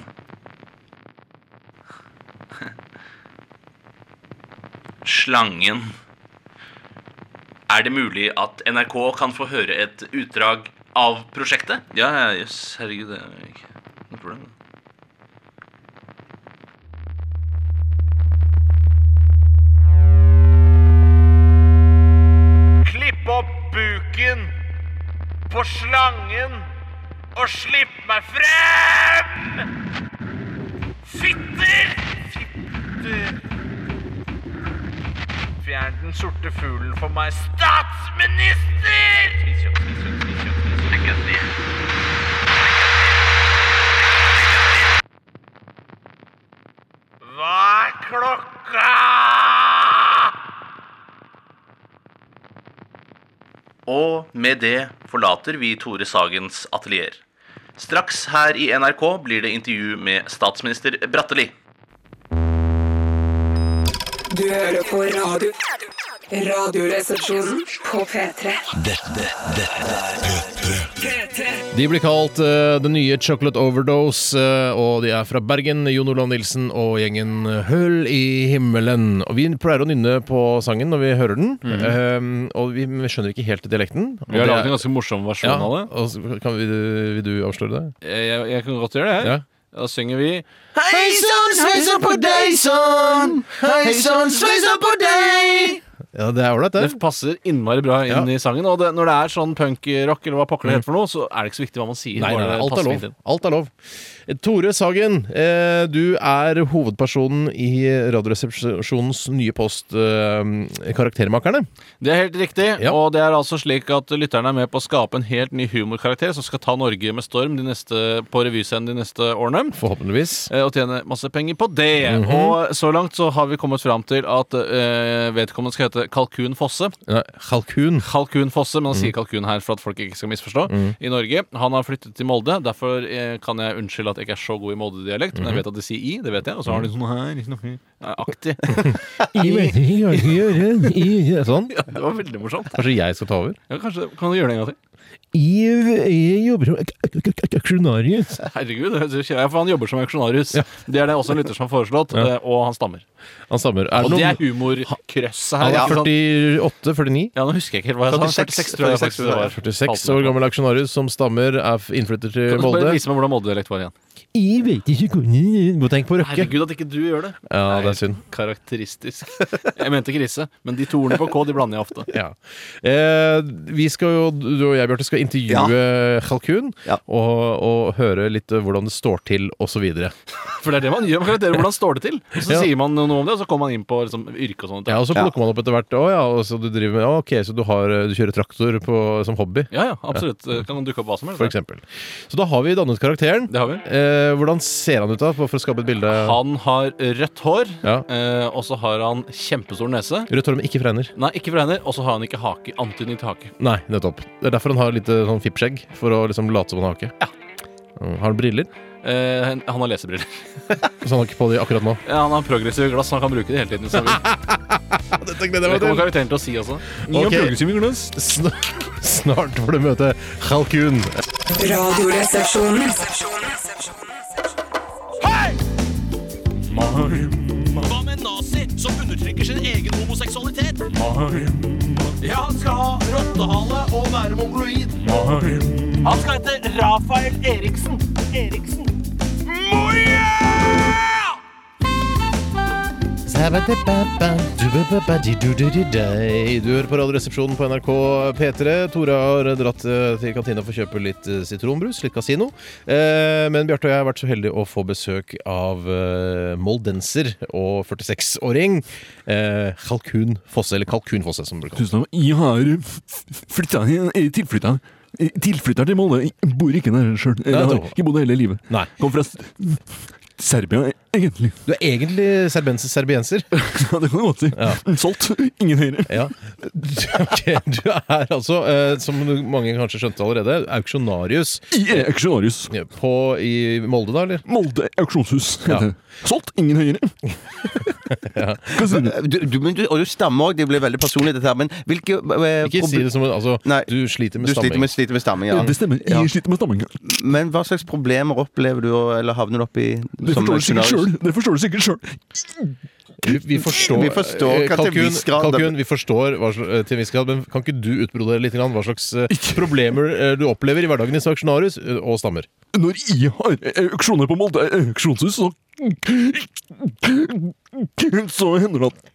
G: Slangen. Er det mulig at NRK kan få høre et utdrag av prosjektet? Ja, ja, jøss. Herregud, det er ikke noe problem.
F: Klipp opp buken på slangen og slipp meg frem! Fitter! Fitter. Fjern den sorte fuglen for meg, statsminister! Hva er klokka?
G: Og med det forlater vi Tore Sagens atelier. Straks her i NRK blir det intervju med statsminister Bratteli.
E: Du hører på radio. Radioresepsjonen på P3.
B: De blir kalt eh, The Nye Chocolate Overdose, eh, og de er fra Bergen. Jon Olav Nilsen og gjengen Høl i himmelen. Og Vi pleier å nynne på sangen når vi hører den, eh, og vi vi skjønner ikke helt dialekten. og
C: Mhm. Vi har
B: det
C: laget
B: er-
C: en ganske morsom versjon
B: ja,
C: av det.
B: og så kan vi, Vil du avsløre det?
C: Jeg, jeg kan godt gjøre det her.
B: Ja.
C: Da synger vi
D: Hei sann, sveiser på deg sann! Hei sann, sveiser på deg!
B: Ja, Det er ålreit, det.
C: Det passer innmari bra inn
B: Ja.
C: i sangen. Og det, når det er sånn punkrock, eller hva pokker det heter for noe, så er det ikke så viktig hva man sier.
B: Nei,
C: bare
B: nei, nei,
C: det
B: alt,
C: passer
B: er
C: fint
B: lov.
C: inn.
B: alt er lov. Eh, Tore Sagen, eh, du er hovedpersonen i Radioresepsjonens nye post eh, Karaktermakerne.
C: Det er helt riktig,
B: Ja.
C: og det er altså slik at lytterne er med på å skape en helt ny humorkarakter som skal ta Norge med storm de neste, på revyscenen de neste årene.
B: Forhåpentligvis.
C: eh, Og tjene masse penger på det. Og så langt så har vi kommet fram til at eh, vedkommende skal hete Kalkun Fosse.
B: Nei, kalkun.
C: Kalkun Fosse, men han sier kalkun her for at folk ikke skal misforstå. I Norge. Han har flyttet til Molde, derfor eh, kan jeg unnskylde at jeg ikke er så god i Molde-dialekt. Men jeg vet at de sier i, det vet jeg. Og så har de sånn her, ikke noe her, aktig.
B: Sånn.
C: Ja, det var veldig morsomt.
B: Kanskje jeg skal ta over?
C: Ja, kanskje kan du gjøre det en gang til?
B: Jeg jobber som aksjonarius.
C: Herregud, det høres jo kjedelig ut, for han jobber som auksjonarius. Det er det også en lytter som har foreslått, eh, og han stammer.
B: Han stammer. Er
C: Og
B: det
C: det er altså-
B: noen
C: humorkrøsset her.
B: han
C: ikke
B: er
C: sant?
B: 48-49?
C: Ja, nå husker jeg ikke helt hva jeg sa.
D: 46,
C: 46, tror jeg faktisk det var.
B: 46 år gammel aksjonarius som stammer, er f- innflytter
C: Kan
B: til
C: du bare
B: Molde.
C: vise meg hvordan Molde-dialekt var igjen?
B: Jeg vet ikke hvordan Må tenke på Røkke.
C: Herregud, at ikke du gjør det.
B: Ja, det er synd.
C: Karakteristisk. Jeg mente krise, men de to ordene på K de blander jeg ofte.
B: Ja. Eh, vi skal jo, du og jeg, Bjarte, skal intervjue Kalkun
D: Ja.
B: og, og høre litt eh, hvordan det står til, osv.
C: For det er det man gjør med karakterer. Hvordan står det til? Og så
B: Ja.
C: sier man noe om det, og så kommer man inn på liksom, yrke og sånt.
B: Ja, og så plukker man opp etter hvert. Å ja, og så du driver med ja, Ok, så du, har, eh, du kjører traktor på, som hobby,
C: Ja, ja, absolutt. Kan dukke opp hva som helst.
B: for eksempel. Så da har vi dannet karakteren.
C: Det har vi.
B: Eh, hvordan ser han ut, da, for for å skape et bilde?
C: Han har rødt hår,
B: Ja.
C: eh, og så har han kjempestor nese.
B: Rødt hår, men ikke fregner.
C: Nei, ikke fregner, og så har han ikke hake. Antydning til hake.
B: Nei, nettopp. Det er derfor han har litt eh, sånn fippskjegg, for å liksom late som han har hake. Mm, Har han briller?
C: Eh, han han har lesebriller.
B: Så han har ikke på de akkurat nå.
C: Ja, han har progressive glass, så han kan bruke det hele tiden. Så vi- det kommer karakteren til å si også.
B: Ok.
C: Progressive glass.
B: Sn- Snart får du møte Kalkun.
E: Radioresepsjonen.
G: Hva med en nazi som undertrykker sin egen homoseksualitet? Ja, han skal ha rottehale og være mongoloid. Han skal hete Rafael Eriksen. Eriksen. Moja!
B: Du hører på Radioresepsjonen på NRK P3. Tora har dratt eh, til kantina for å kjøpe litt eh, sitronbrus, litt kasino. Eh, Men Bjarte og jeg har vært så heldige å få besøk av eh, moldenser og 46-åring eh, Kalkun Fosse, eller Kalkunfosse, som det blir kalt.
H: Tusen takk. Jeg har flytta eh, tilflytta. Tilflytter til Molde. Jeg bor ikke der sjøl. Jeg har
B: nettopp.
H: ikke bodd der hele livet.
B: Nei.
H: Kom fra S- Serbia, egentlig.
B: Du er egentlig serbenser serbienser.
H: Ja, det kan du godt si. Solgt. Ingen høyere.
B: Ja. Ok, du er altså, eh, som du- mange kanskje skjønte allerede, auksjonarius
H: I auksjonarius.
B: på, i Molde, da? eller?
H: Molde auksjonshus.
B: Ja.
H: heter det. Solgt. Ingen høyere. Hva sier du?
D: Du, du, men du, og du stammer òg. Det blir veldig personlig, dette her. Men hvilke eh,
B: Ikke si det som en- altså,
D: Nei.
B: Du sliter med
D: Du sliter
B: stamming.
D: med, sliter med stamming, ja.
H: Det stemmer.
D: Ja.
H: Jeg sliter med stamming.
D: Men hva slags problemer opplever du, og- eller havner du opp i?
H: Det
D: som
H: forstår du sikkert
D: scenario?
H: sjøl. Det forstår du sikkert selv.
B: Vi, vi forstår,
D: Vi forstår
B: eh,
D: hva til en
B: kalkun,
D: viss grad-
B: kalkun, vi forstår hva, sl- eh, til en viss grad, men kan ikke du utbrodere litt grann hva slags eh, problemer eh, du opplever i hverdagen i auksjonarius eh, og stammer?
H: Når jeg har auksjoner på Molde eh, auksjonshus, så Så hender det at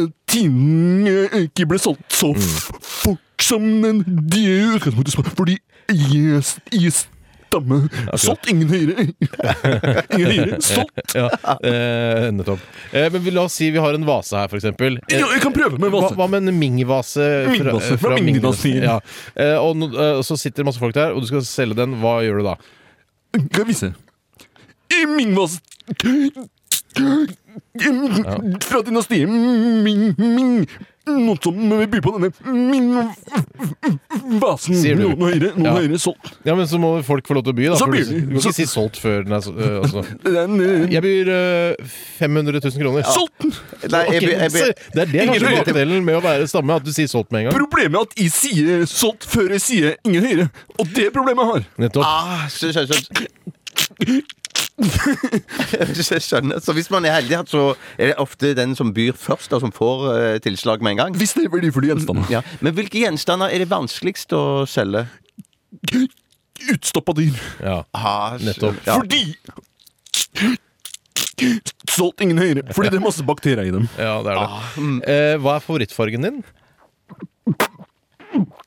H: eh, tingen eh, ikke blir solgt så f- fort som den- de i utgangspunktet smak, fordi jeg, s- jeg stammer. Solgt ingen høyere. Ingen høyere. Solgt.
B: Ja, eh, nettopp. Eh, men vi, la oss si vi har en vase her, for eksempel. Eh,
H: Ja, jeg kan prøve med
B: Hva,
H: vase.
B: hva med en mingvase fra,
H: Mingvase
B: fra
H: fra
B: Mingnes?
H: Mingnesfjell.
B: Ja. Eh, og, no- eh, og så sitter det masse folk der, og du skal selge den. Hva gjør du da?
H: Skal vi se. I min vase Fra dynastiet Ming Ming Noen som byr på denne Ming Vasen
B: Sier du.
H: Noen høyere Noen
B: Ja.
H: høyere solgt
B: Ja, men Så må folk få lov til å by. da
H: Så
B: for
H: byr
B: du,
H: de.
B: du kan
H: Så-
B: ikke si solgt før den er så- eh, altså.
H: Den eh,
B: Jeg byr eh, 500 000 kroner.
H: Solgt
D: Nei, jeg,
B: Ok,
D: blir- jeg,
B: så
D: blir-
B: det er det
H: Ingen
B: kanskje
H: høyere.
B: bakdelen med å være stamme, at du sier solgt med en gang.
H: Problemet er at jeg sier solgt Før jeg sier ingen høyere Og det er problemet jeg har
B: Nettopp.
D: ah, skjø- skjø- skjø- Jeg skjønner. Så hvis man er heldig, så er det ofte den som byr først, da, som får eh, tilslag med en gang.
H: Hvis det er verdifulle gjenstander
D: Ja. Men hvilke gjenstander er det vanskeligst å selge?
H: Utstoppet dyr
B: Ja.
D: Ah, s-
B: Nettopp.
D: Ja.
H: Fordi Solgt ingen høyere Fordi det er masse bakterier i dem
B: ja, det er
D: Ah,
B: det.
D: mm.
B: Eh, hva er favorittfargen din?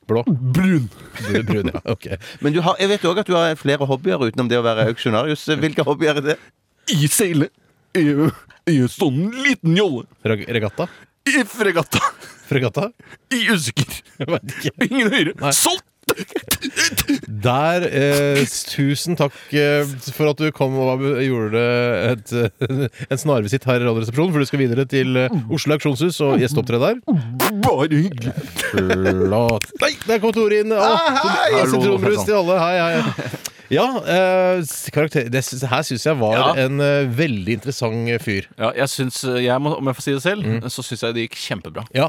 B: Blå?
H: Brun
B: Brun, brun, ja. Ok.
D: Men du har, jeg vet òg at du har flere hobbyer utenom det å være auksjonarius. Hvilke hobbyer er det?
H: i seile. I, i en sånn liten jolle.
B: Reg- Regatta?
H: I fregatta.
B: Fregatta?
H: I usikker.
B: Jeg vet ikke.
H: Ingen høyere. Solgt!
B: Der, eh, tusen takk eh, for at du kom og var- gjorde et, eh, en snarvisitt her i Radioresepsjonen, for du skal videre til eh, Oslo Auksjonshus og gjesteopptre der.
H: Bare hyggelig.
B: Flott. Nei, der kom Tore inn! Å, hei! Sitronbrus til alle. Hei, hei. Ja, eh, s- karakter, det sy- her syns jeg var
C: Ja.
B: en eh, veldig interessant eh, fyr.
C: Ja, jeg syns, eh, jeg må, om jeg får si det selv, så syns jeg det gikk kjempebra.
B: Ja.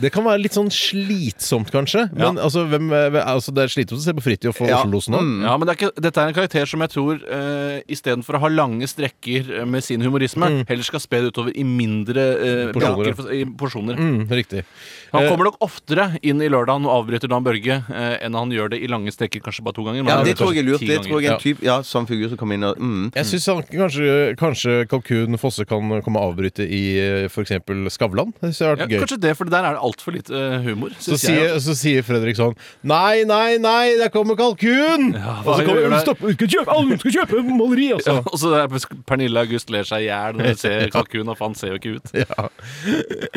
B: Det kan være litt sånn slitsomt, kanskje. Men altså, hvem, eh, altså, det er slitsomt å se på Fridtjof og
D: Ja.
B: Oslo-losen òg.
C: Ja, Mm. men det er ikke, Dette er en karakter som jeg tror eh, istedenfor å ha lange strekker eh, med sin humorisme, heller skal spe det utover i mindre eh,
B: Porsjoner, ja.
C: braker, for- i porsjoner.
B: Mm, riktig.
C: Han kommer nok oftere inn i lørdagen og avbryter Dan Børge eh, enn han gjør det i lange strekker, kanskje bare to ganger. men
D: Ja,
C: han
D: det
C: gjør
D: tror jeg er
C: kanskje
D: lurt.
C: ti
D: Det tror jeg er en
B: ganger.
D: type ja, sånn figur som kommer inn og mm.
B: Jeg syns kanskje, kanskje Kalkun Fosse kan komme og avbryte i f.eks. Skavlan. Det synes jeg har
C: ganger.
B: vært
C: ja,
B: gøy.
C: Kanskje det, for der er det altfor lite eh, humor.
B: Så
C: Synes jeg,
B: sier, så sier Fredrik sånn Nei, nei, nei, der kommer kalkun!
C: Ja,
B: og så
C: hva gjør
B: kommer
C: det?
B: Stopp! Skal kjøpe, alle skal kjøpe maleri, altså!
C: ja. Og så er Pernille August ler seg i hjel når hun ser kalkunen, og faen ser jo ikke ut.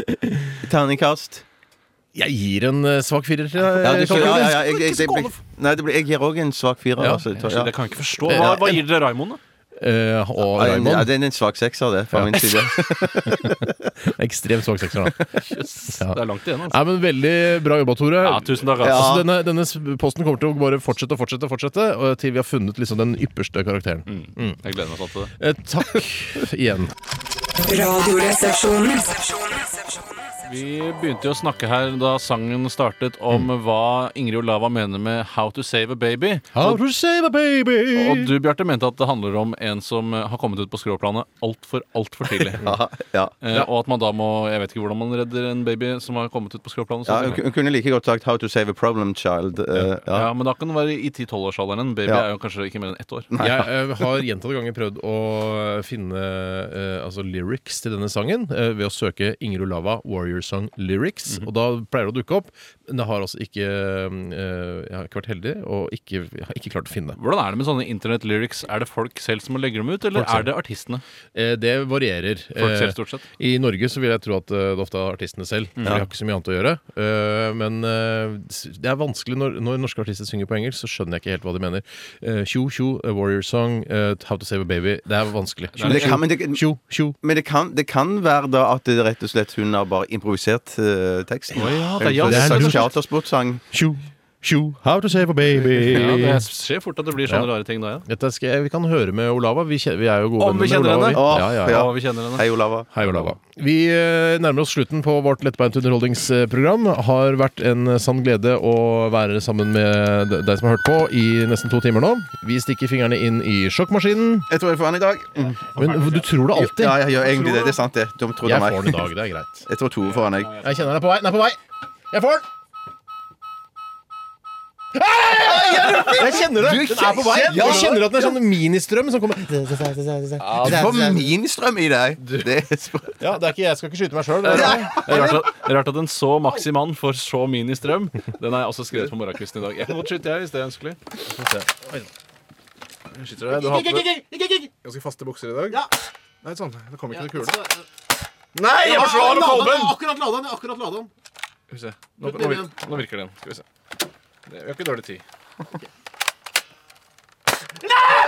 D: Terningkast.
B: Jeg gir en eh, svak firer til deg.
D: Ja, det,
B: Kalkun.
D: ja, ja, jeg, jeg, jeg, det blir- nei, det blir, jeg gir òg en svak firer.
B: Ja,
D: altså, jeg tror- ja.
C: Det kan jeg ikke forstå. Hva, hva gir dere Raymond, da?
B: Eh, og
D: Ja, det- ja,
B: Raymond.
D: det er en svak sekser, det, fra
B: Ja.
D: min side.
B: Ekstremt svak sekser, da.
C: Jøss, Det er langt igjen, altså.
B: Nei, men Veldig bra jobba, Tore.
C: Ja, tusen takk. Altså.
D: Ja.
B: Altså, denne, denne s- posten kommer til å bare fortsette og fortsette, og fortsette og til vi har funnet liksom, den ypperste karakteren.
C: Jeg gleder meg sånn til det.
B: Eh, takk igjen.
E: Radioresepsjonen.
C: Vi begynte jo å snakke her da sangen startet om hva Ingrid Olava mener med 'How to save a baby'.
B: How to save a baby
C: Og du, Bjarte, mente at det handler om en som eh, har kommet ut på skråplanet altfor, altfor tidlig.
D: Ja, ja.
C: Eh, Og at man da må Jeg vet ikke hvordan man redder en baby som har kommet ut på skråplanet.
D: Ja,
C: så-
D: hun hun kunne like godt sagt 'How to save a problem child'. eh, ja.
C: ja, men da kan det være i 10-12-årsalderen. En baby
D: Ja.
C: er jo kanskje ikke mer enn ett år.
B: Jeg eh, har gjentatte ganger prøvd å finne eh, altså, lyrics lyrics til denne sangen eh, ved å søke Ingrid Olava Warrior Song Lyrics.
C: Mhm.
B: Og da pleier det å dukke opp, men det har altså ikke eh, Jeg har ikke vært heldig, og ikke, jeg har ikke klart å finne det.
C: Hvordan er det med sånne internett-lyrics? Er det folk selv som legger dem ut, eller
B: Folk selv.
C: er det artistene?
B: Eh, Det varierer.
C: Folk
B: Eh,
C: selv, stort sett. Mhm.
B: I Norge så vil jeg tro at eh, det ofte er artistene selv. For de har ikke så mye annet å gjøre. Eh, Men eh, s- det er vanskelig når, når norske artister synger på engelsk, så skjønner jeg ikke helt hva de mener. Eh, Tjo, tjo, a warrior song, eh, How to save a baby. Det er vanskelig.
D: Men det kan, men det,
B: Tjo, tjo.
D: men det kan, det kan være da at det rett og slett hun har bare improvisert eh, teksten.
C: Å ja, det er
D: det
C: jazz.
D: er en
B: Det er-
D: chartersportsang.
B: Tjo, tjo, how to save a baby.
C: Ja, det skjer fort at det blir sånne
B: Ja.
C: rare ting da, ja.
B: Dette skal, jeg- vi kan høre med Olava. Vi, kje- vi er jo gode
C: Om vi
B: venner med
C: kjenner
B: Olava.
C: henne?
B: vi.
D: Åh,
B: ja, ja,
D: ja.
B: ja.
C: Å, vi kjenner henne.
D: Hei, Olava.
B: Hei, Olava. Vi eh, nærmer oss slutten på vårt lettbeint underholdningsprogram. Har vært en eh, sann glede å være sammen med de- deg som har hørt på i nesten to timer nå. Vi stikker fingrene inn i sjokkmaskinen.
D: Jeg tror jeg får den i dag.
B: Men du tror det alltid.
D: Ja, jeg gjør egentlig det. Det er sant, det. De trodde
B: Jeg
D: meg.
B: får den i dag, det er greit.
D: Jeg tror Tore får den, jeg.
B: Jeg kjenner den er på vei. Den er på vei. Jeg får den! Ah, Jeg kjenner det! Den er på vei. Jeg kjenner at det er sånn ministrøm som kommer
D: Du får ministrøm i deg. Det er sprøtt.
B: Ja, det er ikke, Jeg skal ikke skyte meg sjøl.
C: Det er Rart at, det er rart at en så maksimann får så mini-strøm. Den har jeg også skrevet på morgenkvisten i dag. Jeg kan godt skyte, jeg, hvis det er ønskelig.
B: Du har på deg
I: Ganske faste bukser i dag. Nei, sånn. Det kom ikke noe kule.
C: Nei, jeg må slå av kolben!
I: Akkurat lada den. akkurat lada den
C: Skal vi se. Nå, nå, virker, nå virker den. Skal vi se. Det, vi har ikke dårlig tid.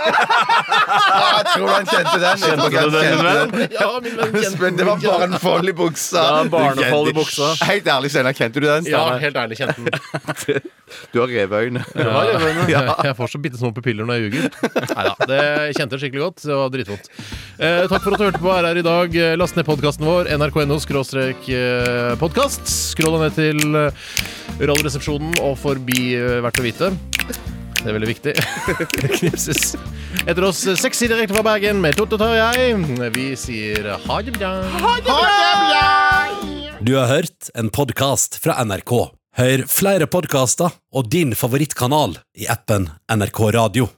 D: Jeg tror han kjente den. Jeg tror han kjente den.
B: Ja, min venn
D: Men det var bare en fold i buksa.
C: Ja, barnefold i
D: Du kjente-
C: buksa.
D: Helt ærlig, Steinar, kjente du den?
B: Ja, helt ærlig, kjente den.
D: Du har reveøyne.
B: Ja. Jeg får så bitte små pupiller når jeg ljuger. Neida, det jeg kjente det skikkelig godt. Det var dritvondt. Eh, takk for at du hørte på RR i dag. Eh, Last ned podkasten vår, nrk.no podkast. Skroll deg ned til eh, Radioresepsjonen og forbi eh, Verdt å vite. Det er veldig viktig. Det Knipses. Etter oss eh, sexy direkte fra Bergen med Toto Tarjei. Vi sier ha det bra.
A: Du har hørt en podcast fra NRK. Hør flere podcaster og din favorittkanal i appen NRK Radio.